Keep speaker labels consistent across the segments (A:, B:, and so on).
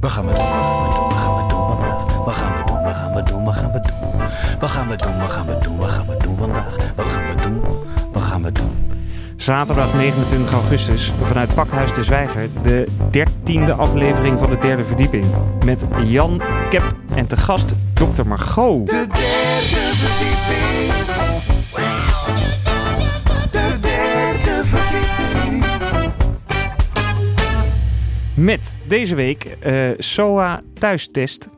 A: gaan we doen? Wat gaan we doen vandaag? Wat gaan we doen? Wat gaan we doen? Wat gaan we doen? Wat gaan we doen? Wat gaan we doen? Wat gaan we doen vandaag? Wat gaan we doen? Wat gaan we doen?
B: Zaterdag 29 augustus vanuit Pakhuis de Zwijger de 13e aflevering van de derde verdieping. Met Jan Kep en te gast Dr. Margot.
A: De derde verdieping. De derde verdieping.
B: Met deze week eh, SOA thuistest.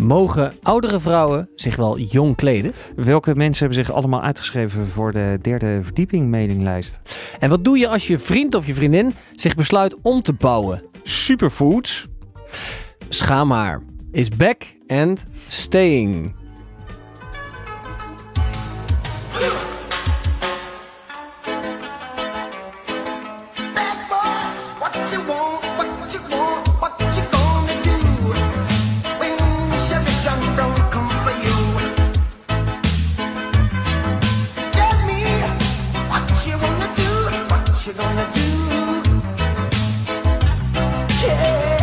C: Mogen oudere vrouwen zich wel jong kleden?
B: Welke mensen hebben zich allemaal uitgeschreven voor de derde verdieping mailinglijst?
C: En wat doe je als je vriend of je vriendin zich besluit om te bouwen?
B: Superfoods.
C: Schaamhaar is back and staying.
D: Bad boys, what you want, what you want, what you gonna do? When Chevy John Brown come for you. Tell me what you wanna do, what you gonna do. Yeah.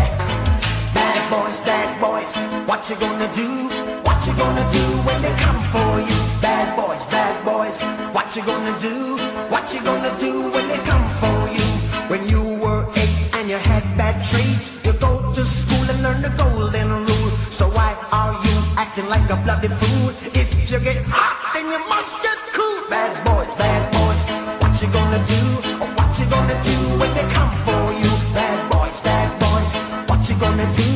D: Bad boys, bad boys, what you gonna do? What you gonna do when they come for you? Bad boys, bad boys, what you gonna do? What you gonna do when they come for you? When you were eight and you had bad traits, you go to school and learn the golden rule. So why are you acting like a bloody fool? If you get hot, then you must get cool. Bad boys, bad boys, what you gonna do? What you gonna do when they come for you? Bad boys, bad boys, what you gonna do?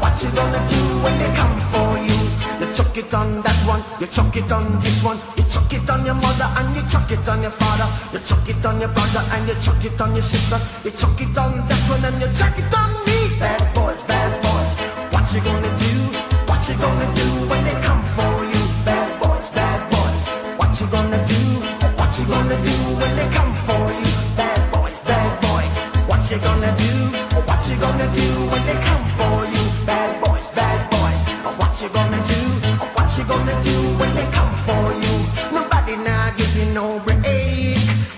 D: What you gonna do when they come for you? You chuck it on that one, you chuck it on this one, you chuck it on your mother and you chuck it on your father, you chuck it on your brother and you chuck it on your sister, you chuck it on that one and you chuck it on me. Bad boys, bad boys, what you gonna do? What you gonna do when they come for you? Bad boys, bad boys, what you gonna do? What you gonna do when they come for you? Bad boys, bad boys, what you gonna do? What you gonna do when they come for you? Bad boys, bad boys, what you gonna do? What you gonna do when they come for you? Nobody now give you no break.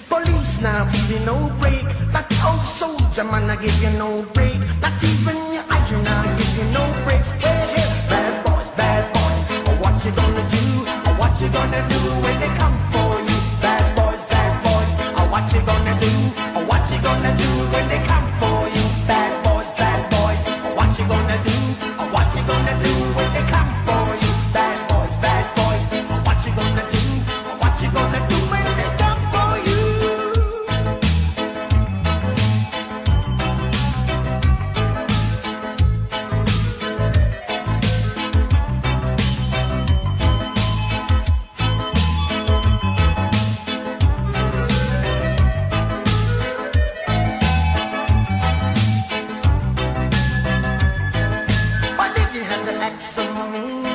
D: Police now give you no break. That old soldier man I give you no break. Not even your eyes you now give you no breaks. Hey, hey, bad boys, bad boys, what you gonna do? What you gonna do when they come for you? Bad boys, bad boys, what you gonna do? What you gonna do when they come for you? Bad boys, bad boys, what you gonna do? What you gonna do when they come for you? Bad boys, bad boys, what you gonna do? What you gonna do when they come for you? Why did you have to act so mean?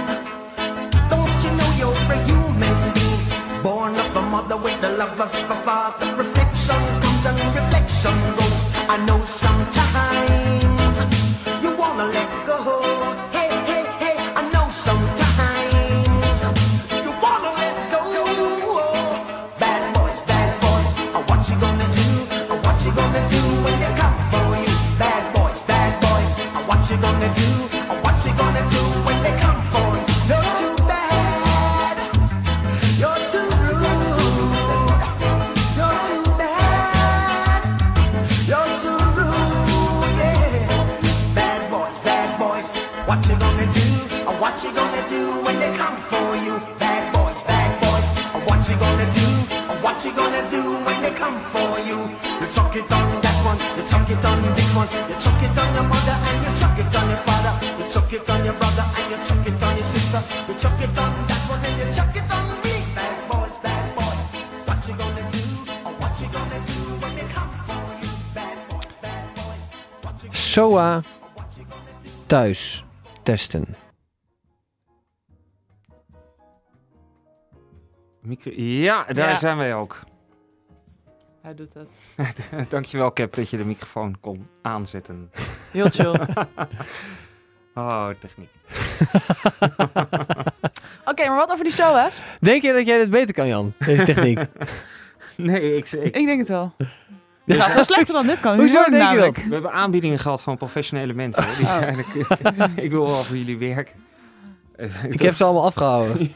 D: Don't you know you're a human being? Born of a mother with the love of a father. Reflection comes and reflection goes. I know sometimes you wanna let go. Hey, hey, hey. I know sometimes you wanna let go. Bad boys, bad boys. What you gonna do? What you gonna do when they come for you? Bad boys, bad boys. What you gonna do? What you gonna do when they come for you? You're too bad. You're too rude. You're too bad. You're too rude. Yeah. Bad boys, bad boys. What you gonna do? Uh, What you gonna do when they come for you? Bad boys, bad boys. Uh, What you gonna do? Uh, What you gonna do when they come for you? You chuck it on that one. You chuck it on this one. You chuck it on your mother and you chuck it on your father. You chuck it on your brother and you chuck it on your sister. You chuck it on that one and you chuck it on me. Bad boys, bad boys. What you gonna do? What you gonna do when they come for you? Bad boys, bad boys. What you
C: SOA thuis testen.
B: Micro- ja, daar
E: Ja.
B: zijn wij ook.
E: Hij doet dat.
B: Dankjewel Cap dat je de microfoon kon aanzetten.
E: Heel chill. Oké,
B: Oh, techniek.
E: maar wat over die SOA's?
C: Denk je dat jij dit beter kan, Jan? Deze techniek.
B: Nee, ik, ik,
E: Ik denk het wel. Ja, dat is slechter dan dit kan.
C: Hoezo
E: niet worden
C: denk je dat?
E: namelijk.
B: We hebben aanbiedingen gehad van professionele mensen. hè.
E: Oh.
B: Die zeiden, ik, ik wil wel voor jullie werk.
C: Ik heb ze allemaal afgehouden.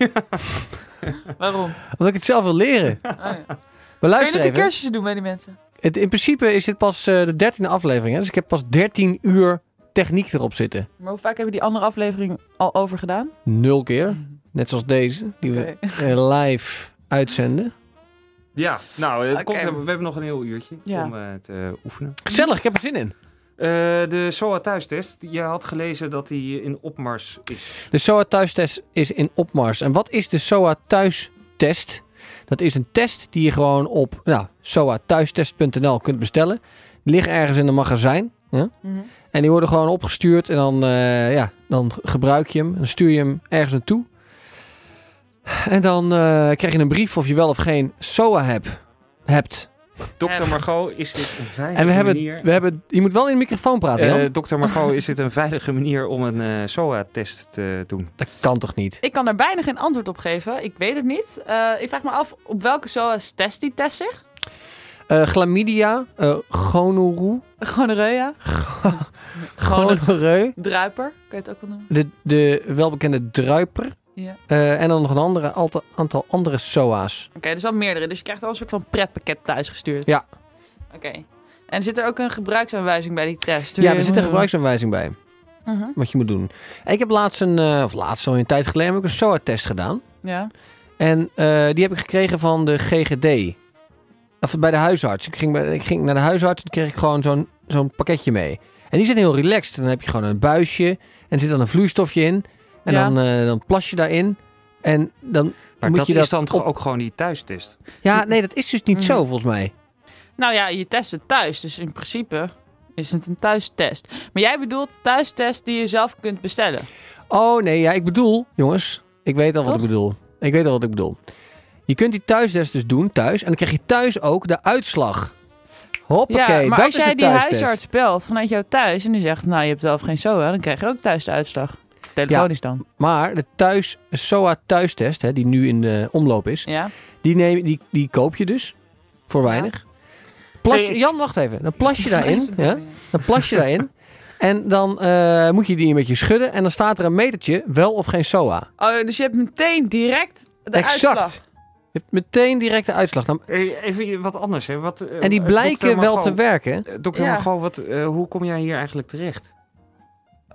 E: Waarom?
C: Omdat ik het zelf wil leren.
E: Ah, ja.
C: Maar
E: Kun je
C: luister
E: niet een
C: even.
E: cursusje doen bij die mensen?
C: Het, in principe is dit pas eh, de dertiende aflevering. Hè? Dus ik heb pas 13 uur techniek erop zitten.
E: Maar hoe vaak hebben die andere aflevering al over gedaan?
C: Nul keer. Net zoals deze. Die we
E: Oké.
C: eh, live uitzenden.
B: Ja, nou, het
E: Oké.
B: komt, we hebben nog een heel uurtje
E: Ja.
B: om eh, te oefenen.
C: Gezellig, ik heb er zin in.
B: Eh, de SOA thuistest. Je had gelezen dat die in opmars is.
C: De SOA thuistest is in opmars. En wat is de SOA thuistest? Dat is een test die je gewoon op nou, soathuistest.nl kunt bestellen. Die liggen ergens in een magazijn.
E: Mhm.
C: En die worden gewoon opgestuurd en dan, eh, ja, dan gebruik je hem. Dan stuur je hem ergens naartoe. En dan eh, krijg je een brief of je wel of geen SOA heb, hebt.
B: Dokter
E: Echt.
B: Margot, is dit een veilige
C: En we hebben,
B: manier?
C: we hebben... Je moet wel in de microfoon praten, Jan.
B: Eh, Dokter Margot, is dit een veilige manier om een eh, SOA-test te doen?
C: dat kan toch niet?
E: Ik kan daar bijna geen antwoord op geven. Ik weet het niet. Eh, ik vraag me af op welke SOA's test die test zich.
C: Eh chlamydia, eh gonorroe,
E: Gonorrhea,
C: gonorreu.
E: druiper, kan je het ook wel noemen.
C: De, de welbekende druiper.
E: Ja.
C: Eh, en dan nog een andere, aantal, aantal andere SOA's.
E: Oké, dus wel meerdere. Dus je krijgt al een soort van pretpakket thuisgestuurd.
C: Ja.
E: Oké. En zit er ook een gebruiksaanwijzing bij die test?
C: Ja, er zit een gebruiksaanwijzing bij.
E: Mhm.
C: Wat je moet doen. En ik heb laatst een, eh, of laatst al een tijd geleden, heb ik een SOA-test gedaan.
E: Ja.
C: En eh, die heb ik gekregen van de GGD. Of bij de huisarts. Ik ging, bij, ik ging naar de huisarts en toen kreeg ik gewoon zo'n zo'n pakketje mee. En die zit heel relaxed. En dan heb je gewoon een buisje. En er zit dan een vloeistofje in. En
E: Ja.
C: dan, eh, dan plas je daarin. En dan
B: Maar
C: moet
B: dat
C: je
B: is
C: dat
B: dan toch
C: op-
B: ook gewoon die thuistest?
C: Ja, nee, dat is dus
E: Mhm.
C: niet zo volgens mij.
E: Nou ja, je test het thuis. Dus in principe is het een thuistest. Maar jij bedoelt thuistest die je zelf kunt bestellen.
C: Oh nee, ja, ik bedoel, jongens, ik weet al wat
E: Toch?
C: ik bedoel. Ik weet al wat ik bedoel. Je kunt die thuistest dus doen thuis en dan krijg je thuis ook de uitslag. Hoppakee,
E: ja, maar
C: dat
E: als
C: is
E: jij
C: de
E: die
C: thuistest.
E: huisarts belt vanuit jouw thuis en die zegt, nou je hebt wel of geen SOA, dan krijg je ook thuis de uitslag. Telefonisch dan.
C: Maar de thuis SOA thuistest, hè, die nu in de omloop is,
E: Ja.
C: die, neem, die, die koop je dus voor
E: Ja.
C: weinig. Plas,
B: Nee, ik-
C: Jan, wacht even. Dan plas je daarin. ja? Dan plas je daarin. En dan eh, moet je die een beetje schudden. En dan staat er een metertje, wel of geen SOA.
E: Oh, dus je hebt meteen direct de uitslag.
C: Je hebt meteen direct de uitslag. Dan-
B: Eh, Even wat anders, hè? Wat, eh,
C: En die
B: eh,
C: blijken
B: dokter
C: wel
B: Margot,
C: te werken.
B: eh, Dokter
E: Ja.
B: Margot, wat, eh, hoe kom jij hier eigenlijk terecht?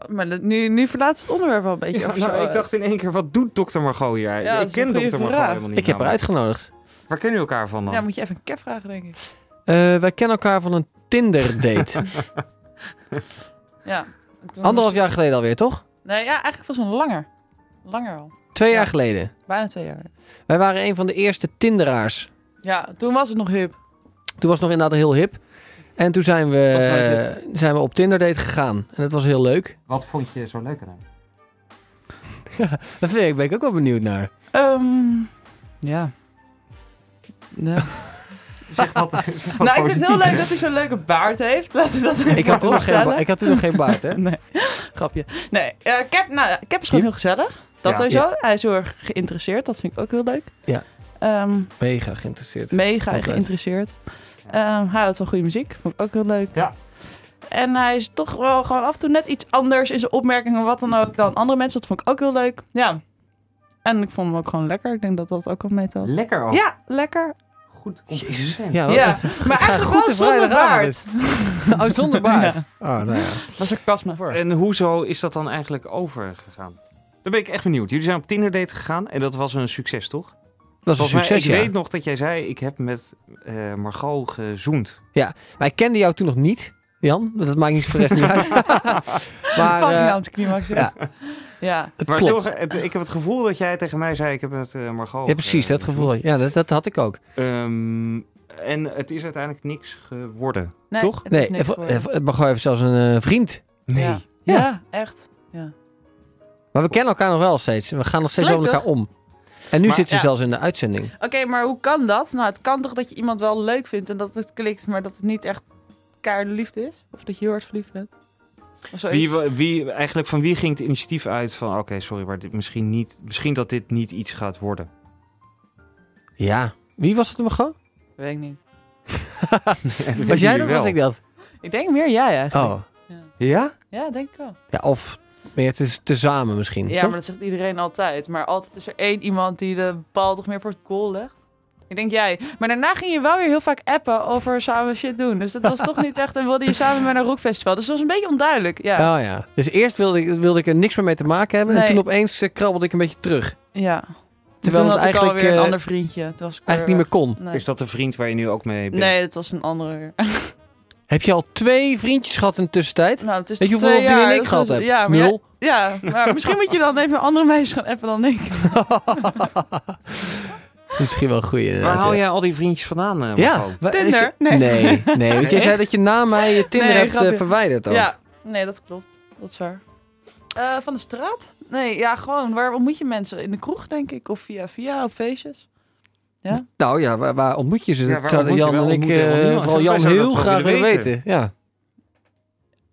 E: Maar dat- nu, nu verlaat het onderwerp wel een beetje.
B: Ja,
E: over eh,
B: nou,
E: SOA's.
B: ik dacht in één keer, wat doet dokter Margot hier?
E: Ja, dat
B: ik
E: is een
B: ken
E: goede
B: dokter Margot
E: vraag.
B: helemaal niet.
C: Ik heb haar
B: namelijk.
C: uitgenodigd.
B: Waar kennen jullie elkaar van dan?
E: Ja, moet je even een cap vragen, denk ik.
C: Eh, wij kennen elkaar van een Tinder-date.
E: Ja. Toen
C: Anderhalf
E: was-
C: jaar geleden alweer, toch?
E: Nee, ja, eigenlijk volgens mij langer. Langer al.
C: Twee
E: Ja.
C: jaar geleden.
E: Bijna twee jaar.
C: Wij waren een van de eerste Tinderaars.
E: Ja, toen was het nog hip.
C: Toen was het nog inderdaad heel hip. En toen zijn we,
B: Was nooit
C: eh, zijn we op Tinder-date gegaan. En dat was heel leuk.
B: Wat vond je zo leuk aan hem?
C: Daar ben ik- ben ik ook wel benieuwd naar.
E: Ehm, ja. Ja.
B: Zeg wat, eh, zeg wat
E: Nou, ik vind het heel
B: positiefs.
E: leuk dat hij zo'n leuke baard heeft. Laten we dat even
C: Ik had toen nog geen, ba-
E: opstellen.
C: ik had toen nog geen baard, hè?
E: Nee, grapje. Nee, eh, Cap, nou, ja, Cap is gewoon
C: Ja.
E: heel gezellig. Dat
B: Ja.
E: sowieso. Hij is heel erg geïnteresseerd. Dat vind ik ook heel leuk.
C: Ja.
E: Ehm,
C: Mega geïnteresseerd.
E: mega
C: Altijd.
E: geïnteresseerd. Ehm, hij houdt van goede muziek. Vond ik ook heel leuk.
B: Ja.
E: En hij is toch wel gewoon af en toe net iets anders in zijn opmerkingen, wat dan ook, dan andere mensen. Dat vond ik ook heel leuk. Ja. En ik vond hem ook gewoon lekker. Ik denk dat dat ook al meetelt.
B: Lekker ook.
E: Ja, lekker.
B: Goed compliment.
C: Ja, wel
E: ja.
C: echt.
E: Maar eigenlijk
C: goed
E: wel
C: te vragen,
E: zonder
C: raar
E: baard.
C: Oh, zonder baard. Oh, nou ja.
E: Dat was sarcasme.
C: Voor.
B: En hoezo is dat dan eigenlijk overgegaan? Daar ben ik echt benieuwd. Jullie zijn op Tinder date gegaan en dat was een succes, toch?
C: Dat is een
B: Volgens mij,
C: succes,
B: ik
C: ja.
B: weet nog dat jij zei, ik heb met eh, Margot gezoend.
C: Maar ik kende jou toen nog niet, Jan. Dat maakt niet voor de rest niet uit. maar
E: Fucking
C: eh,
E: anticlimax.
C: ja.
E: Ja. ja.
C: het
B: Maar
C: klopt.
B: toch, het- ik heb het gevoel dat jij tegen mij zei, ik heb met eh, Margot...
C: Ja, precies,
B: eh,
C: dat gevoel.
B: gezoend.
C: Ja, dat, dat had ik ook.
B: Ehm, en het is uiteindelijk niks geworden.
E: Nee,
B: Toch?
E: Het
C: Nee,
E: nee,
C: het mag even zelfs een eh, vriend.
B: Nee.
E: Ja.
C: Ja.
E: Ja. echt.
C: Maar we kennen elkaar nog wel steeds. We gaan nog steeds
E: Leuk,
C: wel met elkaar om. En nu
B: Maar-
C: zit ze
E: ja.
C: zelfs in de uitzending.
E: Oké, maar hoe kan dat? Nou, het kan toch dat je iemand wel leuk vindt en dat het klikt, maar dat het niet echt keiharde liefde is? Of dat je heel hard verliefd bent? Of zoiets.
B: Wie, wie, eigenlijk van wie ging het initiatief uit van, oké, sorry, maar dit misschien, niet, misschien dat dit niet iets gaat worden?
C: Ja. Wie was het hem gewoon?
E: Weet ik niet.
C: Was jij dat of was ik dat?
E: Ik denk meer jij eigenlijk.
C: Oh.
B: Ja?
E: Ja, denk ik wel.
C: Ja, of meer het is tezamen misschien.
E: Ja,
C: toch?
E: maar dat zegt iedereen altijd. Maar altijd is er één iemand die de bal toch meer voor het goal legt. Ik denk jij. Maar daarna ging je wel weer heel vaak appen over samen shit doen. Dus dat was toch niet echt... En wilde je samen met een rockfestival. Dus dat was een beetje onduidelijk. Ja.
C: Oh ja. Dus eerst wilde ik, wilde ik er niks meer mee te maken hebben. En
E: Nee.
C: toen opeens eh, krabbelde ik een beetje terug.
E: ja.
C: Terwijl
E: Toen
C: het
E: had ik
C: eigenlijk,
E: alweer
C: eh,
E: een ander vriendje. Het was ik
C: Eigenlijk niet meer kon.
E: weer- Nee.
B: Is dat de vriend waar je nu ook mee bent?
E: Nee, dat was een andere.
C: Heb je al twee vriendjes gehad in de tussentijd?
E: Nou, het is
C: Weet je
E: toch
C: hoeveel
E: twee jaar,
C: vriendinnen ik
E: dat
C: gehad
E: was-
C: heb?
E: Ja, maar
C: Nul.
E: Ja, maar misschien moet je dan even een andere meisje gaan appen dan ik.
C: Misschien wel een goeie
B: Waar
C: inderdaad.
B: haal
C: ja.
B: jij al die vriendjes vandaan, eh, Marco?
C: Ja. wa- is-
E: Tinder?
C: Nee.
E: Nee.
C: Nee, want jij zei
B: Echt?
C: dat je na mij je Tinder
E: Nee,
C: hebt eh,
E: grapje.
C: verwijderd ook.
E: Ja, nee, dat klopt. Dat is waar. Eh, van de straat? Nee, ja, gewoon. Waar ontmoet je mensen? In de kroeg, denk ik. Of via via op feestjes.
C: Nou ja, waar, waar ontmoet je ze?
B: Ja,
C: Dat
B: waar
C: zouden
B: ontmoet je?
C: Jan en
B: Wij
C: ik,
B: ontmoeten
C: eh,
B: helemaal niemand.
C: vooral
B: Wij
C: Jan,
B: zouden
C: heel
B: dat wel
C: graag willen
B: willen
C: weten. Ja.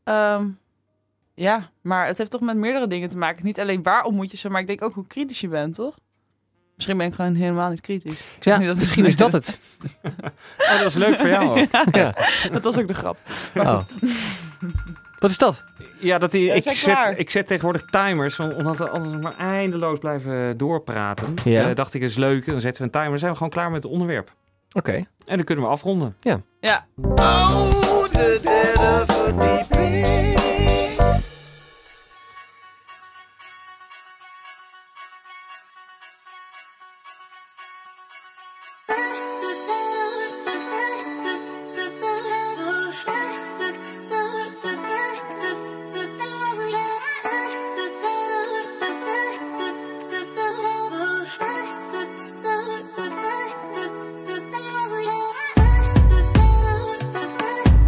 E: Ehm, ja, maar het heeft toch met meerdere dingen te maken. Niet alleen waar ontmoet je ze, maar ik denk ook hoe kritisch je bent, toch? Misschien ben ik gewoon helemaal niet kritisch. Ik zeg
C: Ja,
E: niet dat-
C: misschien is dat het.
B: Oh, dat is leuk voor jou. ook.
C: Ja.
E: Dat was ook de grap.
C: Oh. Wat is dat?
B: Ja, dat die,
E: Ja,
B: ik,
E: zijn
B: zet,
E: klaar.
B: ik zet tegenwoordig timers, want omdat we anders maar eindeloos blijven doorpraten.
C: Ja.
B: eh, dacht ik, is leuk. Dan zetten we een timer. Dan zijn we gewoon klaar met het onderwerp.
C: Oké.
B: En dan kunnen we afronden.
E: Ja,
F: Oh, Yeah.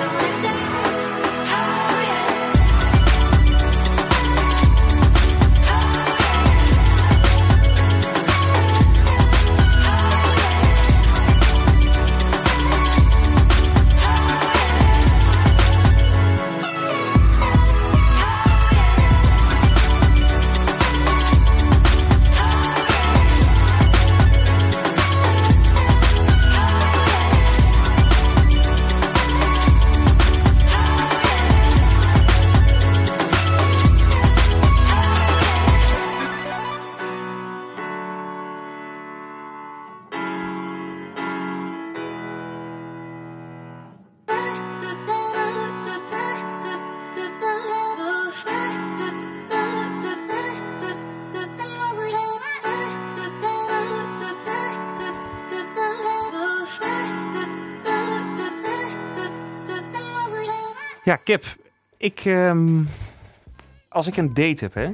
F: Oh, Oh,
B: Ja, Kip. Ik, ehm, als ik een date heb, hè.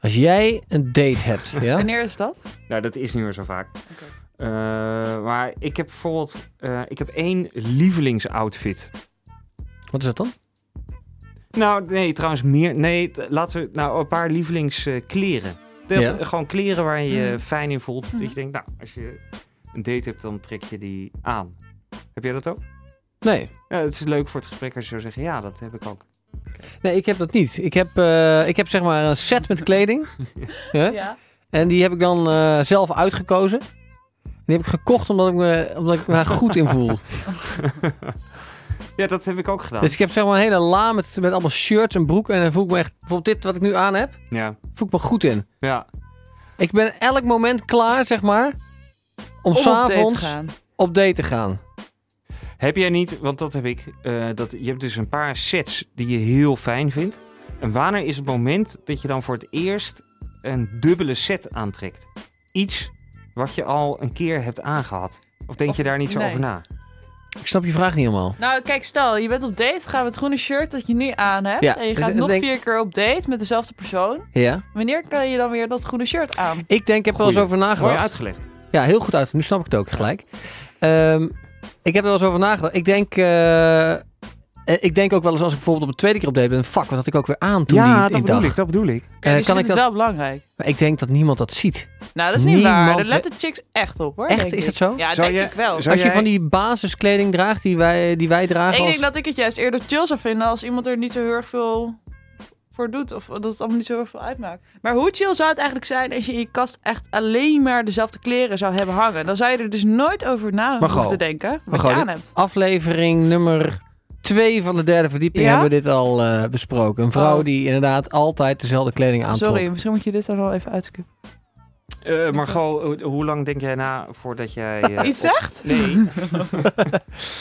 C: Als jij een date hebt, ja?
E: Wanneer is dat?
B: Nou, dat is niet meer zo vaak. Eh, maar ik heb bijvoorbeeld... eh, ik heb één lievelingsoutfit.
C: Wat is dat dan?
B: Nou, nee, trouwens meer. Nee, t- laten we nou een paar lievelingskleren.
C: Ja.
B: Gewoon kleren waar je je
E: Mhm.
B: fijn in voelt. Dat
E: Mhm.
B: je denkt, nou, als je een date hebt, dan trek je die aan. Heb jij dat ook?
C: Nee.
B: Ja, het is leuk voor het gesprek als je zou zeggen, ja, dat heb ik ook.
C: Nee, ik heb dat niet. Ik heb, eh, ik heb zeg maar een set met kleding. ja?
E: Ja.
C: En die heb ik dan eh, zelf uitgekozen. Die heb ik gekocht omdat ik me, omdat ik me daar goed in
E: Nou.
C: voel.
B: Ja, dat heb ik ook gedaan.
C: Dus ik heb zeg maar een hele la met, met allemaal shirts en broeken. En dan voel ik me echt, bijvoorbeeld dit wat ik nu aan heb,
B: Ja,
C: voel ik me goed in.
B: ja.
C: Ik ben elk moment klaar, zeg maar, om,
E: Om op date te
C: s'avonds
E: gaan.
C: op date te gaan.
B: Heb jij niet, want dat heb ik, eh, dat, je hebt dus een paar sets die je heel fijn vindt. En wanneer is het moment dat je dan voor het eerst een dubbele set aantrekt? Iets wat je al een keer hebt aangehad. Of denk
E: Of-
B: je daar niet zo
E: nee.
B: over na?
C: Ik snap je vraag niet helemaal.
E: Nou, kijk, stel, je bent op date, ga met het groene shirt dat je nu aan hebt.
C: Ja,
E: en je
C: dus
E: gaat
C: ik
E: nog
C: denk-
E: vier keer op date met dezelfde persoon.
C: Ja.
E: Wanneer kan je dan weer dat groene shirt aan?
C: Ik denk, ik heb er wel eens
B: Goeie.
C: over nagedacht.
B: Mooi uitgelegd.
C: Ja, heel goed uit. Nu snap ik het ook gelijk. Ehm, ik heb er wel eens over nagedacht. Ik denk, eh, eh, ik denk ook wel eens als ik bijvoorbeeld op de tweede keer op date ben. Fuck, wat had ik ook weer aan toen die
B: ja,
C: het
B: dat bedoel
C: indacht.
B: ik, dat bedoel ik.
E: Oké,
C: Eh,
E: dus
C: kan
E: je vindt
C: ik dat-
E: het wel belangrijk.
C: Maar ik denk dat niemand dat ziet.
E: Nou, dat is niet
C: Niemand
E: waar. Daar
C: we-
E: letten chicks echt op, hoor.
C: Echt?
E: denk
C: Is
E: ik.
C: dat zo?
E: Ja,
B: Zou
E: denk
B: je-
E: ik wel.
B: zou-
C: als je
B: jij-
C: van die basiskleding draagt die wij, die wij dragen
E: Ik
C: als...
E: denk dat ik het juist eerder chill zou vinden als iemand er niet zo heel erg veel voor doet. Of dat het allemaal niet zo heel erg veel uitmaakt. Maar hoe chill zou het eigenlijk zijn als je in je kast echt alleen maar dezelfde kleren zou hebben hangen? Dan zou je er dus nooit over na
C: Margot.
E: hoeven te denken wat
C: Margot,
E: je aan
C: dit-
E: hebt.
C: Aflevering nummer twee van de derde verdieping
E: Ja?
C: hebben we dit al eh, besproken. Een vrouw
E: Oh.
C: die inderdaad altijd dezelfde kleding aantrok.
E: Sorry, misschien moet je dit dan wel even uitskippen.
B: Eh, Margot, ho- hoe lang denk jij na voordat jij... eh,
E: Iets
B: op-
E: zegt?
B: Nee.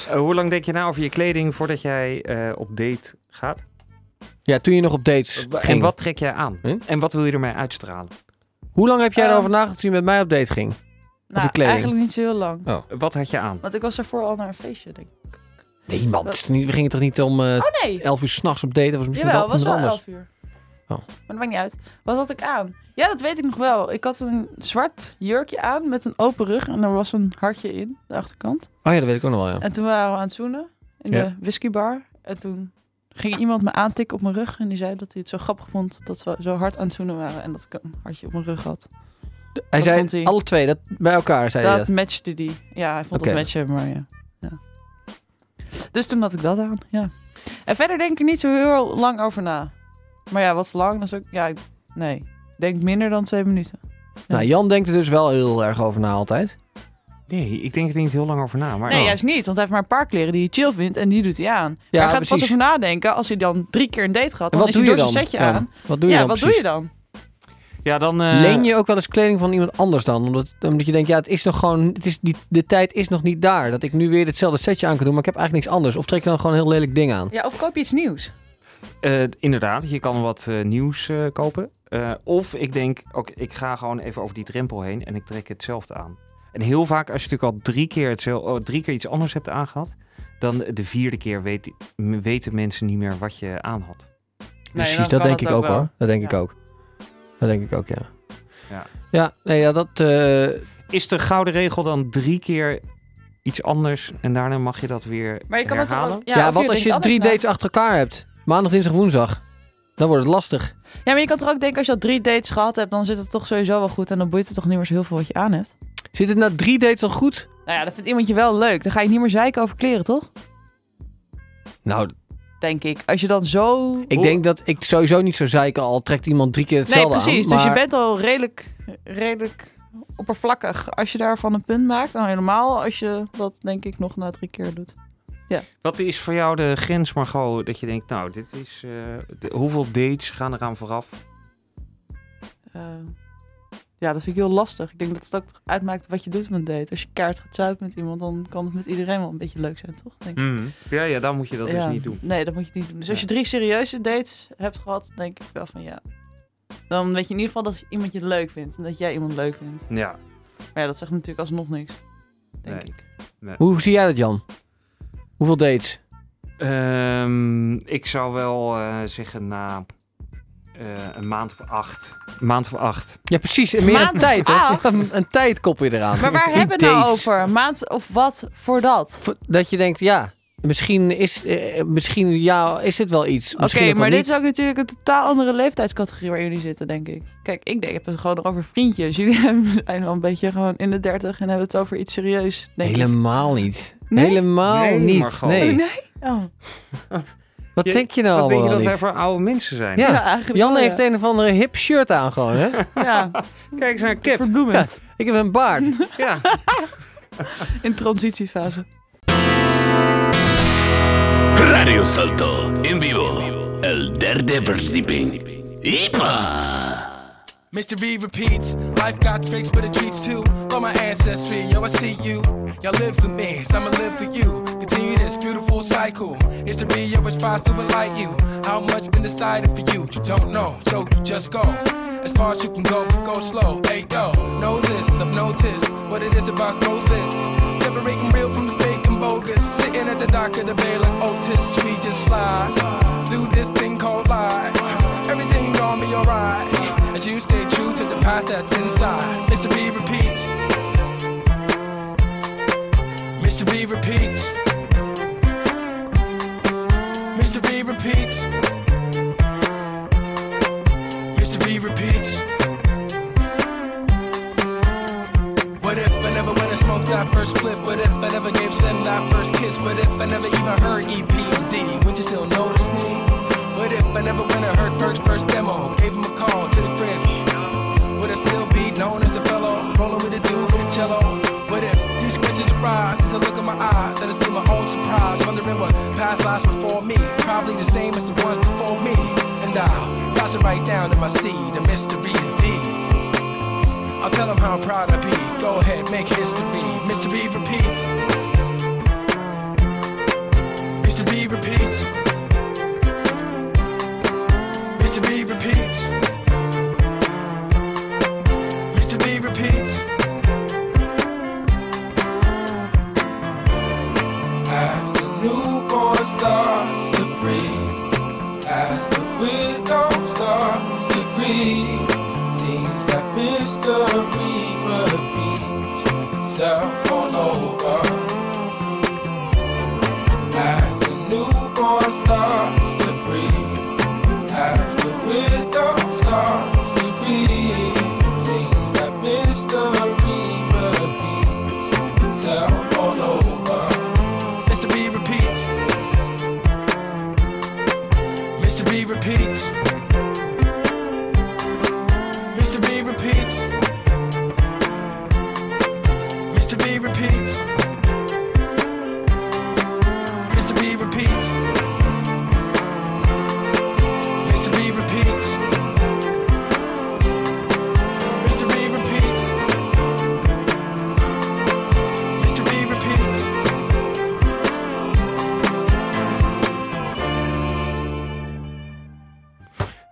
B: Eh, hoe lang denk je na over je kleding voordat jij eh, op date gaat?
C: Ja, toen je nog op dates
B: En
C: ging.
B: wat trek jij aan?
C: Hm?
B: En wat wil je ermee uitstralen?
C: Hoe lang heb jij
E: Eh,
C: erover nagedacht toen je met mij op date ging?
E: Nou,
C: kleding.
E: eigenlijk niet zo heel lang.
B: Wat had je aan?
E: Want ik was daarvoor al naar een feestje, denk ik.
C: Nee, man. het is niet- We gingen toch niet om eh
E: Oh nee,
C: 11 uur s'nachts op date? Dat was misschien
E: jawel,
C: wel
E: was wel
C: iemand anders.
E: elf uur.
C: Oh.
E: Maar dat maakt niet uit. Wat had ik aan? Ja, dat weet ik nog wel. Ik had een zwart jurkje aan met een open rug en er was een hartje in, de achterkant.
C: Oh ja, dat weet ik ook nog wel, ja.
E: En toen waren we aan het zoenen in
C: Ja.
E: de whiskybar. En toen ging iemand me aantikken op mijn rug. En die zei dat hij het zo grappig vond dat we zo hard aan het zoenen waren. En dat ik een hartje op mijn rug had.
C: Hij
E: dat
C: zei,
E: vond hij.
C: alle twee, dat, bij elkaar zei hij
E: Dat
C: dat.
E: matchte die. Ja, hij vond
C: Oké.
E: dat matchen, maar ja. ja. Dus toen had ik dat aan, ja. En verder denk ik er niet zo heel lang over na. Maar ja, wat is lang? Dat is ook... Ja, ik- nee. Ik Denk minder dan twee minuten.
C: Nou, Jan denkt er dus wel heel erg over na altijd.
B: Nee, ik denk er niet heel lang over na. Maar
E: Nee,
B: Oh.
E: juist niet. Want hij heeft maar een paar kleren die hij chill vindt en die doet hij aan. maar hij gaat er vast
C: precies.
E: over nadenken als hij dan drie keer een date gaat.
C: En
E: Dan is hij door zijn setje
C: Ja,
E: aan.
C: wat doe je
E: ja,
C: dan
E: wat
C: precies?
E: doe je dan?
B: ja, dan. eh,
C: Leen je ook wel eens kleding van iemand anders dan? Omdat, omdat je denkt, ja, het is nog gewoon, het is, die, de tijd is nog niet daar. Dat ik nu weer hetzelfde setje aan kan doen, maar ik heb eigenlijk niks anders. Of trek je dan gewoon een heel lelijk ding aan?
E: Ja, of koop je iets nieuws?
B: eh, inderdaad, je kan wat eh, nieuws eh, kopen. Eh, of ik denk, oké, ik ga gewoon even over die drempel heen en ik trek hetzelfde aan. En heel vaak, als je natuurlijk al drie keer, hetzelfde, oh, drie keer iets anders hebt aangehad, dan de vierde keer weet, m- weten mensen niet meer wat je aan had.
C: Precies, dat denk ik ook, hoor. Dat denk ik
E: Ja.
C: ook. Dat denk ik ook, ja.
B: Ja.
C: ja, nee, ja dat... eh,
B: Is de gouden regel dan drie keer iets anders en daarna mag je dat weer
E: Maar je kan het
B: herhalen?
E: ook,
C: ja, want als je drie dates achter elkaar hebt, maandag, dinsdag, woensdag, dan wordt het lastig.
E: Ja, maar je kan toch ook denken als je al drie dates gehad hebt, dan zit het toch sowieso wel goed en dan boeit het toch niet meer zo heel veel wat je aan hebt.
C: Zit het na drie dates al goed?
E: Nou ja, dat vindt iemand je wel leuk. Dan ga je niet meer zeiken over kleren, toch?
C: Nou,
E: Denk ik. Als je dan zo...
C: ik denk dat ik sowieso niet zo zeiken al trekt iemand drie keer
E: Nee,
C: hetzelfde
E: precies.
C: aan.
E: Dus je
C: maar-
E: bent al redelijk, redelijk oppervlakkig als je daarvan een punt maakt. En helemaal als je dat denk ik nog na drie keer doet.
B: Wat is voor jou de grens, Margot, dat je denkt, nou, dit is... eh, de- hoeveel dates gaan eraan vooraf?
E: Eh, ja, dat vind ik heel lastig. Ik denk dat het ook uitmaakt wat je doet met een date. Als je kaart gaat zuipen met iemand, dan kan het met iedereen wel een beetje leuk zijn, toch? Denk ik.
B: Mhm. Ja, ja, dan moet je Mm, dat dus
E: Ja.
B: niet doen.
E: Nee, dat moet je niet doen. Dus als je
B: Ja.
E: drie serieuze dates hebt gehad, denk ik wel van ja. Dan weet je in ieder geval dat iemand je leuk vindt en dat jij iemand leuk vindt.
B: Ja.
E: Maar ja, dat zegt natuurlijk alsnog niks, denk
B: Nee.
E: ik.
C: Hoe zie jij dat, Jan? Hoeveel dates?
B: Ehm, ik zou wel eh, zeggen na eh, een maand of acht. Een maand of acht.
C: Ja, precies. En meer
E: Maand
C: een
E: of
C: tijd, hè?
E: acht.
C: Een, een tijd koppel je eraan.
E: Maar waar hebben we het nou
C: Days.
E: over? Een Maand of wat voor dat?
C: Vo- Dat je denkt, ja, misschien is, eh, misschien, ja, is dit wel iets.
E: Oké,
C: Misschien ook wel
E: maar dit
C: niet.
E: is ook natuurlijk een totaal andere leeftijdscategorie waar jullie zitten, denk ik. Kijk, ik denk, ik heb het gewoon nog over vriendjes. Jullie zijn wel een beetje gewoon in de dertig en hebben het over iets serieus, denk ik.
C: Helemaal niet.
E: Nee?
C: Helemaal
B: Nee,
C: niet.
B: Margot.
E: Oh,
C: Nee.
E: nee? Oh.
C: Wat
B: Je-
C: denk je nou
B: Wat denk je
C: allemaal
B: dat wij
C: lief?
B: voor oude mensen zijn?
C: Ja,
E: Ja, eigenlijk
C: Jan
E: wel, ja.
C: heeft een of andere hip shirt aan gewoon, hè?
E: Ja,
B: Kijk eens naar Kip.
E: verbloemend.
C: Ik heb een baard.
B: Ja.
E: In transitiefase.
A: Radio Salto, en vivo, el derde verdieping. Ipa!
G: Mr. B repeats, life got tricks, but it treats too. Love my ancestry, yo, I see you. Y'all live through me, so I'ma live through you. Continue this beautiful cycle. Mr. B, yo, it's fine to enlighten you. How much been decided for you? You don't know, so you just go. As far as you can go, go slow. Hey, yo, know this, I've noticed what it is about those lists. Separating real from the fake and bogus. Sitting at the dock of the bay like Otis, we just slide. Do this thing called life. Everything gonna be alright as you stay true to the path that's inside. Mr. B repeats. Mr. B repeats. Mr. B repeats. Mr. B repeats. What if I never went and smoked that first spliff? What if I never gave Sam that first kiss? What if I never even heard E EPMD? Would you still notice me? What if I never went and heard Berg's first demo? Gave him a call to the crib. Would I still be known as the fellow? Rolling with a dude with a cello. What if these questions arise as I look in my eyes and I see my own surprise? Wondering what path lies before me. Probably the same as the ones before me. And I'll toss it right down in my seed, the mystery indeed. I'll tell him how proud I be. Go ahead, make history. Mr. B repeats. Mr. B repeats. Mr. B repeats. Mr. B repeats. As the newborn starts to breathe, as the widow starts to grieve. Seems that mystery repeats itself all over. As the newborn starts to breathe, as the widow starts to grieve, seems that mystery repeats itself all over. Mr. B repeats. Mr. B repeats. Mr. B repeats. Mr. B repeats. Mr. B repeats. Mr. B repeats. Mr. B repeats. Mr. B repeats.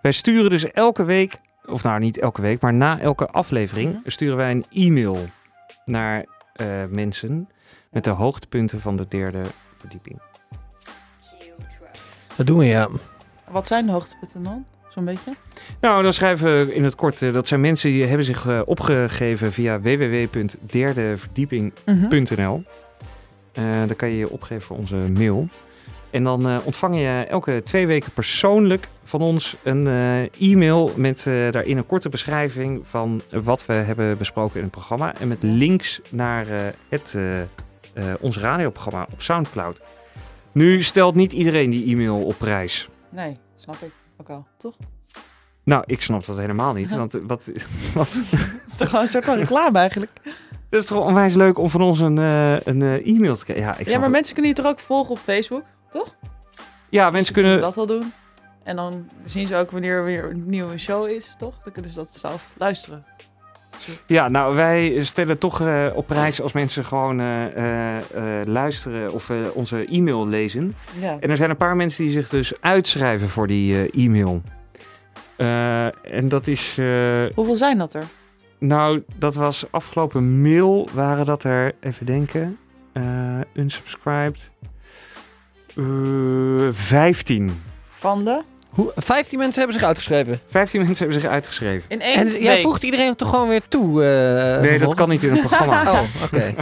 B: Wij sturen dus elke week, of nou niet elke week, maar na elke aflevering sturen wij een e-mail naar eh, mensen met de hoogtepunten van de derde verdieping.
C: Dat doen we, ja.
E: Wat zijn de hoogtepunten dan? Zo'n beetje?
B: Nou, dan schrijven we in het kort, eh, dat zijn mensen die hebben zich eh, opgegeven via www.derdeverdieping.nl.
C: Mhm.
E: Hm?
B: Eh dan kan je je opgeven voor onze mail. En dan eh, ontvang je elke twee weken persoonlijk van ons een eh, e-mail met eh, daarin een korte beschrijving van wat we hebben besproken in het programma. En met links naar eh, het, eh, eh, ons radioprogramma op Soundcloud. Nu stelt niet iedereen die e-mail op prijs.
E: Nee, snap ik ook al. Toch?
B: Nou, ik snap dat helemaal niet. Want eh, wat, wat,
E: Het is toch gewoon een soort van reclame eigenlijk.
B: het is toch onwijs leuk om van ons een, eh, een eh, e-mail te krijgen. Ja, ik
E: ja,
B: snap
E: maar
B: het.
E: mensen kunnen je toch ook volgen op Facebook?
B: ja, mensen
C: Eh,
B: kunnen
E: Dat al doen. En dan zien ze ook wanneer er weer een nieuwe show is, toch? Dan kunnen ze dat zelf luisteren.
B: Ja, nou, wij stellen toch eh, op prijs als mensen gewoon eh, eh, eh, luisteren of eh, onze e-mail lezen.
E: Ja.
B: En er zijn een paar mensen die zich dus uitschrijven voor die eh, e-mail. Eh, en dat is, eh,
E: Hoeveel zijn dat er?
B: nou, dat was afgelopen mail waren dat er, even denken, eh unsubscribed. Eh, 15.
E: Van de?
C: Hoe, 15 mensen hebben zich uitgeschreven.
B: 15 mensen hebben zich uitgeschreven.
E: In één
C: En
E: week.
C: jij voegt iedereen toch gewoon weer toe? eh,
B: Nee, dat
C: vervolgens?
B: kan niet in het programma.
C: Oh, oké.